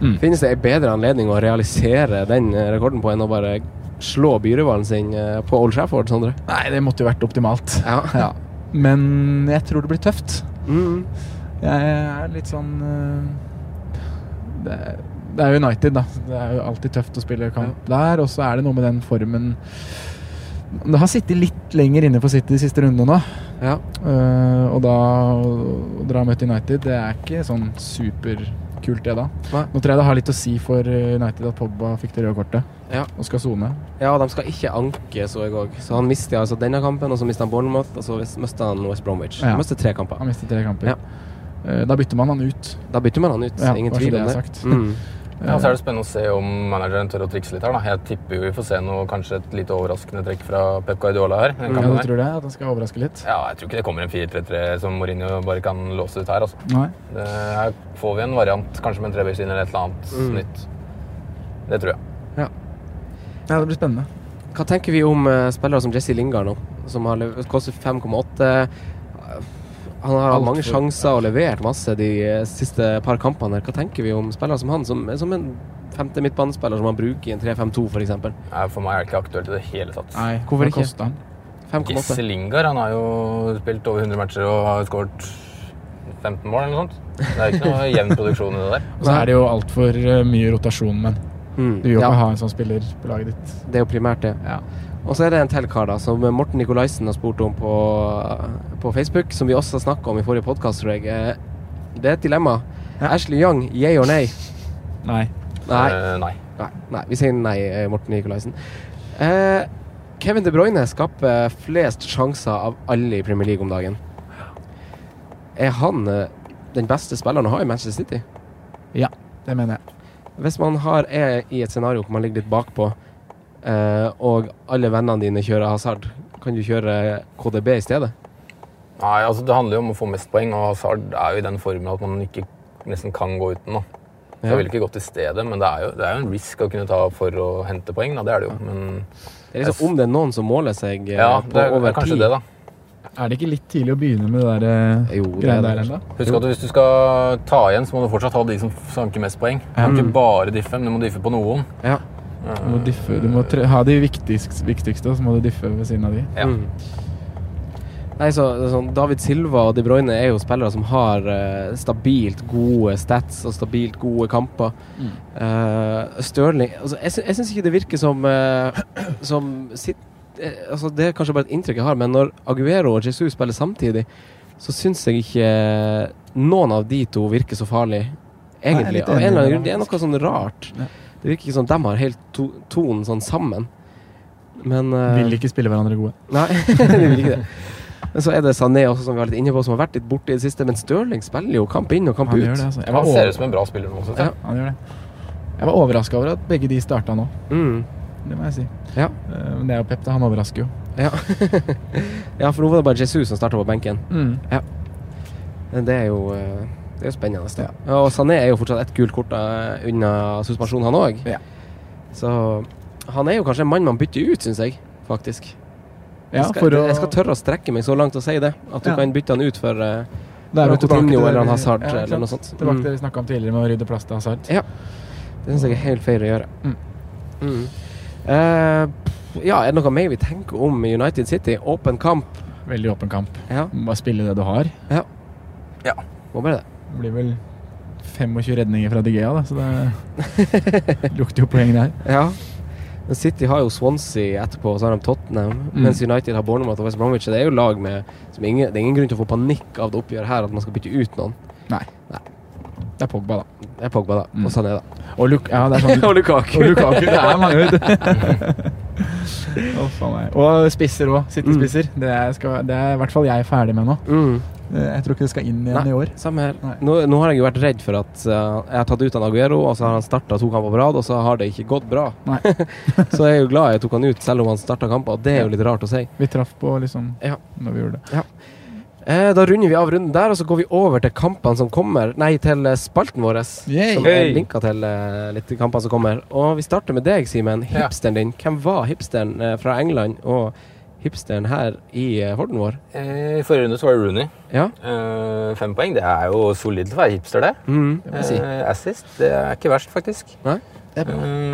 Mm. Finnes det en bedre anledning å realisere den eh, rekorden på enn å bare slå byrivalen sin eh, på Old Trafford, Sondre? Nei, det måtte jo vært optimalt. Ja. Men jeg tror det blir tøft. Mm. Jeg er litt sånn eh, det, er- det er United, da. Det er jo alltid tøft å spille kamp der. Og så er det noe med den formen Det har sittet litt lenger inne for City de siste rundene nå. Ja. Eh, og da å dra og møte United, det er ikke sånn superkult, det da. Nei. Nå tror jeg det har litt å si for eh, United at Pogba fikk det røde kortet Ja. og skal sone. Ja, og de skal ikke anke, så jeg òg. Så han mister altså denne kampen, og så mister han Bournemouth, og så mister han West Bromwich. Ja. Han mister tre kamper. Han mistet tre kamper. Ja. Eh, Da bytter man han ut. Da bytter man han ut, Ja, ingen bare så tvil det om er det. sagt. Mm. Ja, så er det spennende å se om manageren tør å trikse litt her. da. Jeg tipper jo vi får se noe, kanskje et lite overraskende trekk fra Pep Guardiola her. i den Ja, kampen du her. tror det? At han skal overraske litt? Ja, jeg tror ikke det kommer en 4-3-3 som Mourinho bare kan låse ut her. altså. Nei. Det, her får vi en variant, kanskje med en trebeinslinje eller et eller annet Mm. nytt. Det tror jeg. Ja, det blir spennende. Hva tenker vi om eh, spillere som Jesse Lingard nå, som har lev- kostet 5,8? Han har hatt Alt mange for- sjanser og levert masse de eh, siste par kampene. her. Hva tenker vi om spillere som han, som, som en femte midtbanespiller som han bruker i en 3-5-2 f.eks.? Nei, For meg er det ikke aktuelt i det hele tatt. Nei, Hvorfor ikke? koster han? 5,8. Jesse Lingard han har jo spilt over 100 matcher og har skåret 15 mål eller noe sånt. Det er ikke noe jevn produksjon i det der. Og så er det jo altfor mye rotasjon, men Mm, du vil jo ja. ikke ha en sånn spiller på laget ditt. Det er jo primært det. Og så er det en til kar da, som Morten Nikolaisen har spurt om på, på Facebook, som vi også snakka om i forrige podkast, tror jeg. Eh, Det er et dilemma. Ashley Young, yeah or nay? Nei. Nei. Eh, nei. Nei, nei. Vi sier nei, eh, Morten Nikolaisen. Eh, Kevin De Bruyne skaper flest sjanser av alle i Premier League om dagen. Er han eh, den beste spilleren å ha i Manchester City? Ja, det mener jeg. Hvis man har, er i et scenario hvor man ligger litt bakpå, eh, og alle vennene dine kjører Hazard, kan du kjøre eh, KDB i stedet? Nei, altså Det handler jo om å få mest poeng, og Hazard er jo i den formen at man ikke nesten kan gå uten. da. Så Ja. Jeg ville ikke gått i stedet, men det er, jo, det er jo en risk å kunne ta for å hente poeng. da, Det er det jo. Men Det er liksom om det er noen som måler seg eh, Ja, på det er- over det er kanskje tid. det, da. Er det ikke litt tidlig å begynne med det der eh, det greiene er der det. ennå? husk at hvis du skal ta igjen, så må du fortsatt ha de som sanker mest poeng. Du Mm. kan Ja. ikke bare diffe, men du må diffe på noen. Ja. Du må, diffe, du må tre, ha de viktigste, viktigste, og så må du diffe ved siden av de. Mm. Nei, så, det er sånn, David Silva og De Bruyne er jo spillere som har eh, stabilt gode stats og stabilt gode kamper. Mm. Eh, Sterling altså, Jeg, sy jeg syns ikke det virker som, eh, som sitt, eh, altså, Det er kanskje bare et inntrykk jeg har, men når Aguero og Jesus spiller samtidig, så syns jeg ikke noen av de to virker så farlig, Nei, egentlig. jeg er litt Av en enig eller med annen grunn. deg, Det er noe sånn rart. Det virker ikke som de har helt to tonen sånn sammen. Men eh, Vil ikke spille hverandre gode. Nei, de vil ikke det. Men så er det Sané også, som vi var litt inne på, som har vært litt borte i det siste. Men Stirling spiller jo kamp inn og kamp Han ut. gjør det, altså. Jeg var Han ser over- ut som en bra spiller nå. synes Ja. jeg. Han gjør det. Jeg var overraska over at begge de starta nå. Mm. Det må jeg si. Ja. Eh, Men det er jo Pep, da. Han overrasker jo. Ja. ja, for nå var det bare Jesus som starta på benken. Mm. Ja. Men det er jo eh, Det er jo spennende. da. Ja, og Sané er jo fortsatt ett gult kort eh, unna suspensjon, han òg. Ja. Så han er jo kanskje en mann man bytter ut, syns jeg, faktisk. Ja, jeg, skal, for å- jeg skal tørre å strekke meg så langt og si det. At du Ja. kan bytte han ut for eh, Det er jo tilbake Coutinho til det eller vi- en Hazard ja, ikke sant? eller noe sånt. Tilbake Mm. til det vi snakka om tidligere, med å rydde plass til Hazard. Ja. Det syns jeg er helt feil å gjøre. Mm. Eh, ja, er det noe mer vi tenker om United City? Åpen kamp. Veldig åpen kamp. Ja. Må Bare spille det du har. Ja. ja. Må bare det. Det blir vel 25 redninger fra De Gea, da, så det lukter jo poeng der. Ja. Men City har jo Swansea etterpå, og så har de Tottenham. Mm. Mens United har Bournemouth og West Bromwich. Det er jo lag med som ingen, Det er ingen grunn til å få panikk av det oppgjøret her, at man skal bytte ut noen. Nei. Det er Pogba, da. Det er Pogba, da. Og sånn er det. Og, Luk ja, det er sånn, Og Lukaku. Og Lukaku. Det er mange, vet du. Å, faen meg. og spisser òg. Sittespisser. Det, er- skal- det er i hvert fall jeg ferdig med nå. Mm. Eh, Jeg tror ikke det skal inn igjen Nei, i år. Samme her. Mm. Nå, nå har jeg jo vært redd for at eh, jeg har tatt ut han Aguero, og så har han starta to kamper på rad, og så har det ikke gått bra. så jeg er jo glad jeg tok han ut, selv om han starta kamper, og det er jo litt rart å si. Vi traff på liksom ja. når vi gjorde det. Eh, da runder vi av runden der, og så går vi over til kampene som kommer. Nei, til eh, spalten vår, Yay. som er Hey. linka til eh, litt kamper som kommer. Og vi starter med deg, Simen. Ja. Hipsteren din. Hvem var hipsteren eh, fra England, og hipsteren her i eh, Horden vår? Eh, I forrige runde så var det Rooney. Ja. Eh, fem poeng. Det er jo solid til å være hipster, det. Mhm, det må jeg si. Eh, assist. Det er ikke verst, faktisk. Nei, Eh,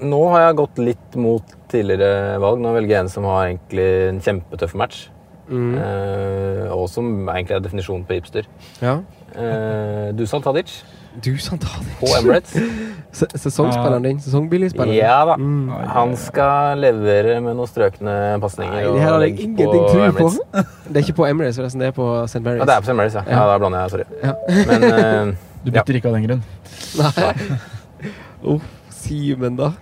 nå har jeg gått litt mot tidligere valg. Nå velger jeg en som har egentlig en kjempetøff match. Mhm. Eh, og som egentlig er definisjonen på hipster. Ja. Eh, Dusan Tadic. Dusan Tadic. På Emirates. Se sesongspilleren din. Sesongbilligspilleren. Ja da. Mm. Han skal levere med noen strøkne pasninger. Nei, og det her har jeg legg på ingenting tro på. Emirates. Det er ikke på Emirates, forresten. Det er på St. Mary's. Ja, det er på St. Mary's, ja. ja. Da blander jeg, sorry. Ja. Men eh, Du bytter ikke av den grunn. Nei. Oh, Simen, da.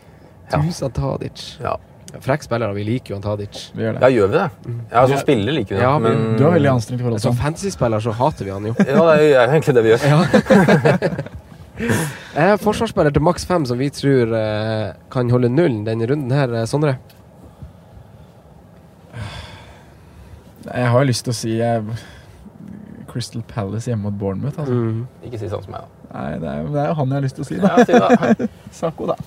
Dusan Tadic. Ja. Frekk spiller, da. vi liker jo han Tadic. Vi gjør det. Ja, gjør vi det? Ja, som Ja. spiller liker vi det, Ja, vi- men- Du har veldig anstrengt forhold til Som han. fantasy-spiller så hater vi han jo. Ja, det er jo- er jo egentlig det vi gjør. Eh, forsvarsspiller til maks fem som vi tror eh, kan holde nullen denne runden her, eh, Sondre. Jeg har jo lyst til å si jeg, Crystal Palace hjemme mot Bournemouth. Altså. Mm. Ikke si sånn som meg, da. Nei, det er, det er jo han jeg har lyst til å si, da. Ja, si det. Sako, da.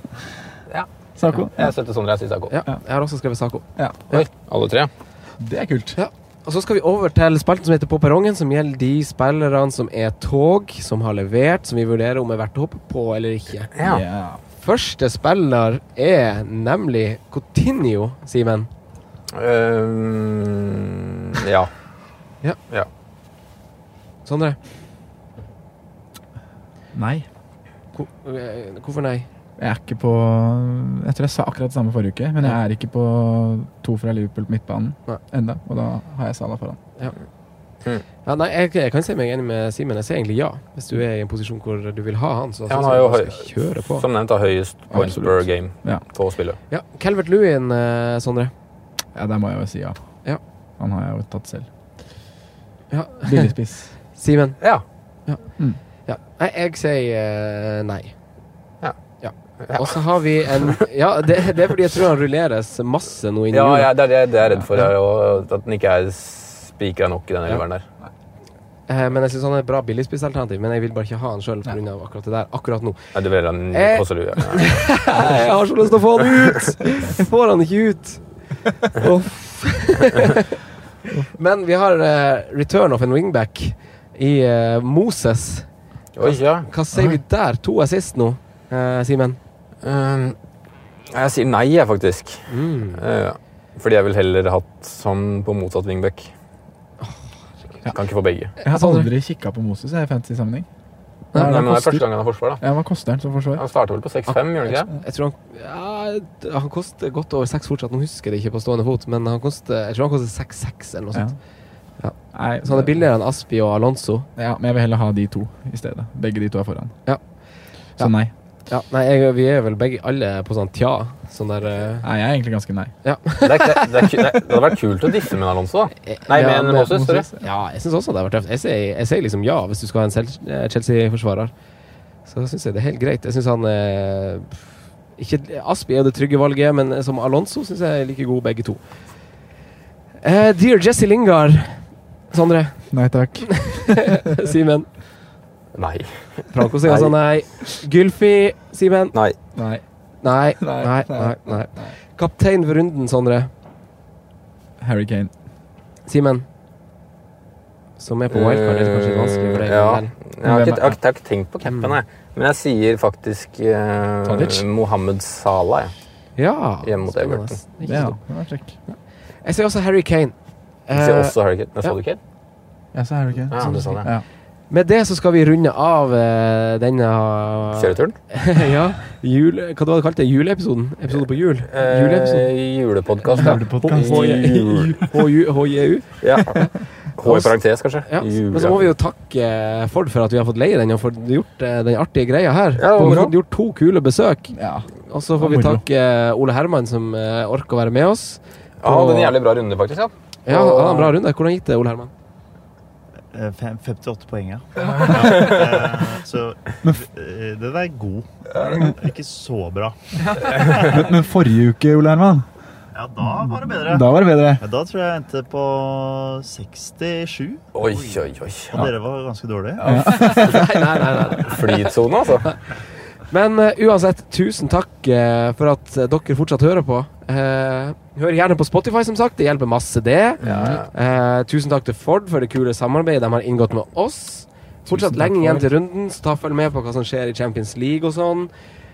Ja. Sako. Jeg støtter Sondre. Jeg sier Sako. Ja, jeg har også skrevet Sako. Oi, alle tre? Det er kult. Ja. Og så skal vi over til spalten som heter På perrongen, som gjelder de spillerne som er tog, som har levert, som vi vurderer om er verdt å hoppe på eller ikke. Ja. Ja. Første spiller er nemlig Coutinho, Simen. Øhm, Ehm, ja. Ja. ja. Sondre? Nei. Hvor- eh, Hvorfor nei? Jeg er ikke på Jeg tror jeg sa akkurat det samme forrige uke, men jeg er ikke på to fra Liverpool på midtbanen enda, og da har jeg Salah foran. Ja. Ja, nei, jeg, jeg kan si meg enig med Simen. Jeg sier egentlig ja, hvis du er i en posisjon hvor du vil ha han. Så Ja, han har jo høy, skal kjøre på. som nevnt da, høyest points per game Ja. på spillet. Ja, Calvert Lewin, eh, Sondre. Ja, der må jeg jo si ja. Ja. Han har jeg jo tatt selv. Ja. Billigspiss. Simen. Ja. Mm. ja. Nei, jeg sier eh, nei. Ja. Og så har vi en Ja, det, det er fordi jeg tror han rulleres masse nå inn i Ja, jula. ja, det er det jeg- det er jeg redd for. her, og At den ikke er spikra nok i den elveren der. Eh, Men jeg syns han er et bra billigspissalternativ, men jeg vil bare ikke ha han sjøl pga. akkurat det der akkurat nå. Nei, det vil han Eh. også lue. Jeg har så lyst til å få han ut! Jeg får han ikke ut. Uff. Men vi har eh, return of en wingback i eh, Moses. Oi, ja. Hva sier vi der? To assist nå, eh, Simen. Øhm, Ehm, jeg sier nei, jeg, faktisk. Mm. Eh, fordi jeg ville heller hatt han på motsatt wingback. Kan ikke få begge. Jeg har aldri kikka på Moses jeg, i fantasy-sammenheng. Nei, Hva er det men han det Ah. er koster? første gang han har forsvar, da. Ja, Hva koster han som forsvar? Han starter vel på 6-5, gjør han ikke det? Jeg tror han, ja, d- han koster godt over seks fortsatt. Nå husker jeg det ikke på stående fot, men han koster, jeg tror han koster seks-seks eller noe Ja. sånt. Ja. Så han er billigere enn Aspi og Alonso. Ja, Men jeg vil heller ha de to i stedet. Begge de to er foran. Ja. Så nei. Ja, nei, jeg, vi er vel begge alle på sånn tja. Sånn der eh, Nei, jeg er egentlig ganske nei. Ja. Det, er, det, er, det, er, det hadde vært kult å diffe med Alonso, da. Nei, Ja, med Moses. Sorry. Ja, jeg syns også det har vært tøft. Jeg sier, jeg sier liksom ja hvis du skal ha en selv- eh, Chelsea-forsvarer. Så syns jeg det er helt greit. Jeg syns han eh, ikke, Aspi er det trygge valget, men som Alonso syns jeg er like god begge to. Eh, dear Jesse Lingard. Sondre. Nei takk. Simen. Nei. Franco sier altså nei. Gylfi. Simen. Nei. Nei. Nei. Nei, Nei. nei, Nei. nei. Kaptein for runden, Sondre. Harry Kane. Simen. som er på wildcard, er det kanskje litt vanskelig for deg? Eh, Ja. å velge. Jeg har ikke, jeg har ikke- jeg har ikke tenkt på capen, jeg. Men jeg sier faktisk eh, Tadic? Mohammed Salah, jeg. Ja, Hjemme mot spennende. Everton. Ikke så dumt. Jeg ser også Harry Kane. Jeg sier Eh, også Harry Kane. Men sa du Kane? Jeg sa Harry Kane. Ja, Så- det sa han, ja. ja. Med det så skal vi runde av eh, denne Kjøreturen? ja. Jule, hva var det du kalte det? Juleepisoden? Episode på jul? Juleepisoden? Eh, Julepodkast. ja. Julepodcast. Jul- HJU? Ja. H i parentes, kanskje. Ja, Men så må vi jo takke eh, Ford for at vi har fått leie den og fått gjort eh, den artige greia her. Ja, det var og vi har moro. fått gjort to kule besøk. Og så Det var får vi moro. takke eh, Ole Herman, som eh, orker å være med oss. Ja, han hadde en Og- jævlig bra runde, faktisk. Ja, Ja, han hadde en bra runde. Hvordan gikk det, Ole Herman? Eh, fem- 58 poeng, ja. ja. eh, Så eh, den er god. Ikke så bra. Men, men forrige uke, Ole Herman Ja, da var det bedre. Da var det bedre. Ja, da tror jeg jeg endte på 67. Oi, oi, oi. Og dere var ganske dårlige. Ja. nei, nei, nei, nei. Flytsone, altså. Men eh, uansett, tusen takk eh, for at eh, dere fortsatt hører på. Eh, hør gjerne på Spotify, som sagt. Det hjelper masse, det. Eh, tusen takk til Ford for det kule samarbeidet de har inngått med oss. Fortsatt Tusen takk, lenge igjen Ford. til runden, så ta følg med på hva som skjer i Champions League og sånn.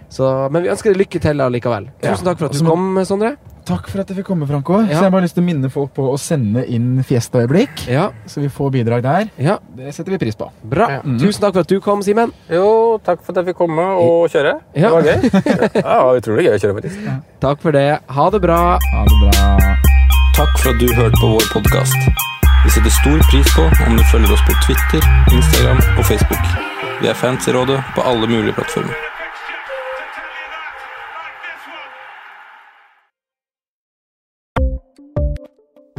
Så, men vi ønsker deg lykke til allikevel. Ja. Tusen takk for at Og så du må- kom, Sondre. Takk for at jeg fikk komme, Franco. Ja. Så jeg har bare lyst til å minne folk på å sende inn fiestaøyeblikk. Så vi får bidrag der. Det setter vi pris på. Bra. Tusen takk for at du kom, Simen. Jo, takk for at jeg fikk komme og kjøre. Ja. Det var gøy. Ja, det var utrolig gøy å kjøre, faktisk. Takk for det. Ha det bra. Takk for at du hørte på vår podkast. Vi setter stor pris på om du følger oss på Twitter, Instagram og Facebook. Vi er fans i rådet på alle mulige plattformer.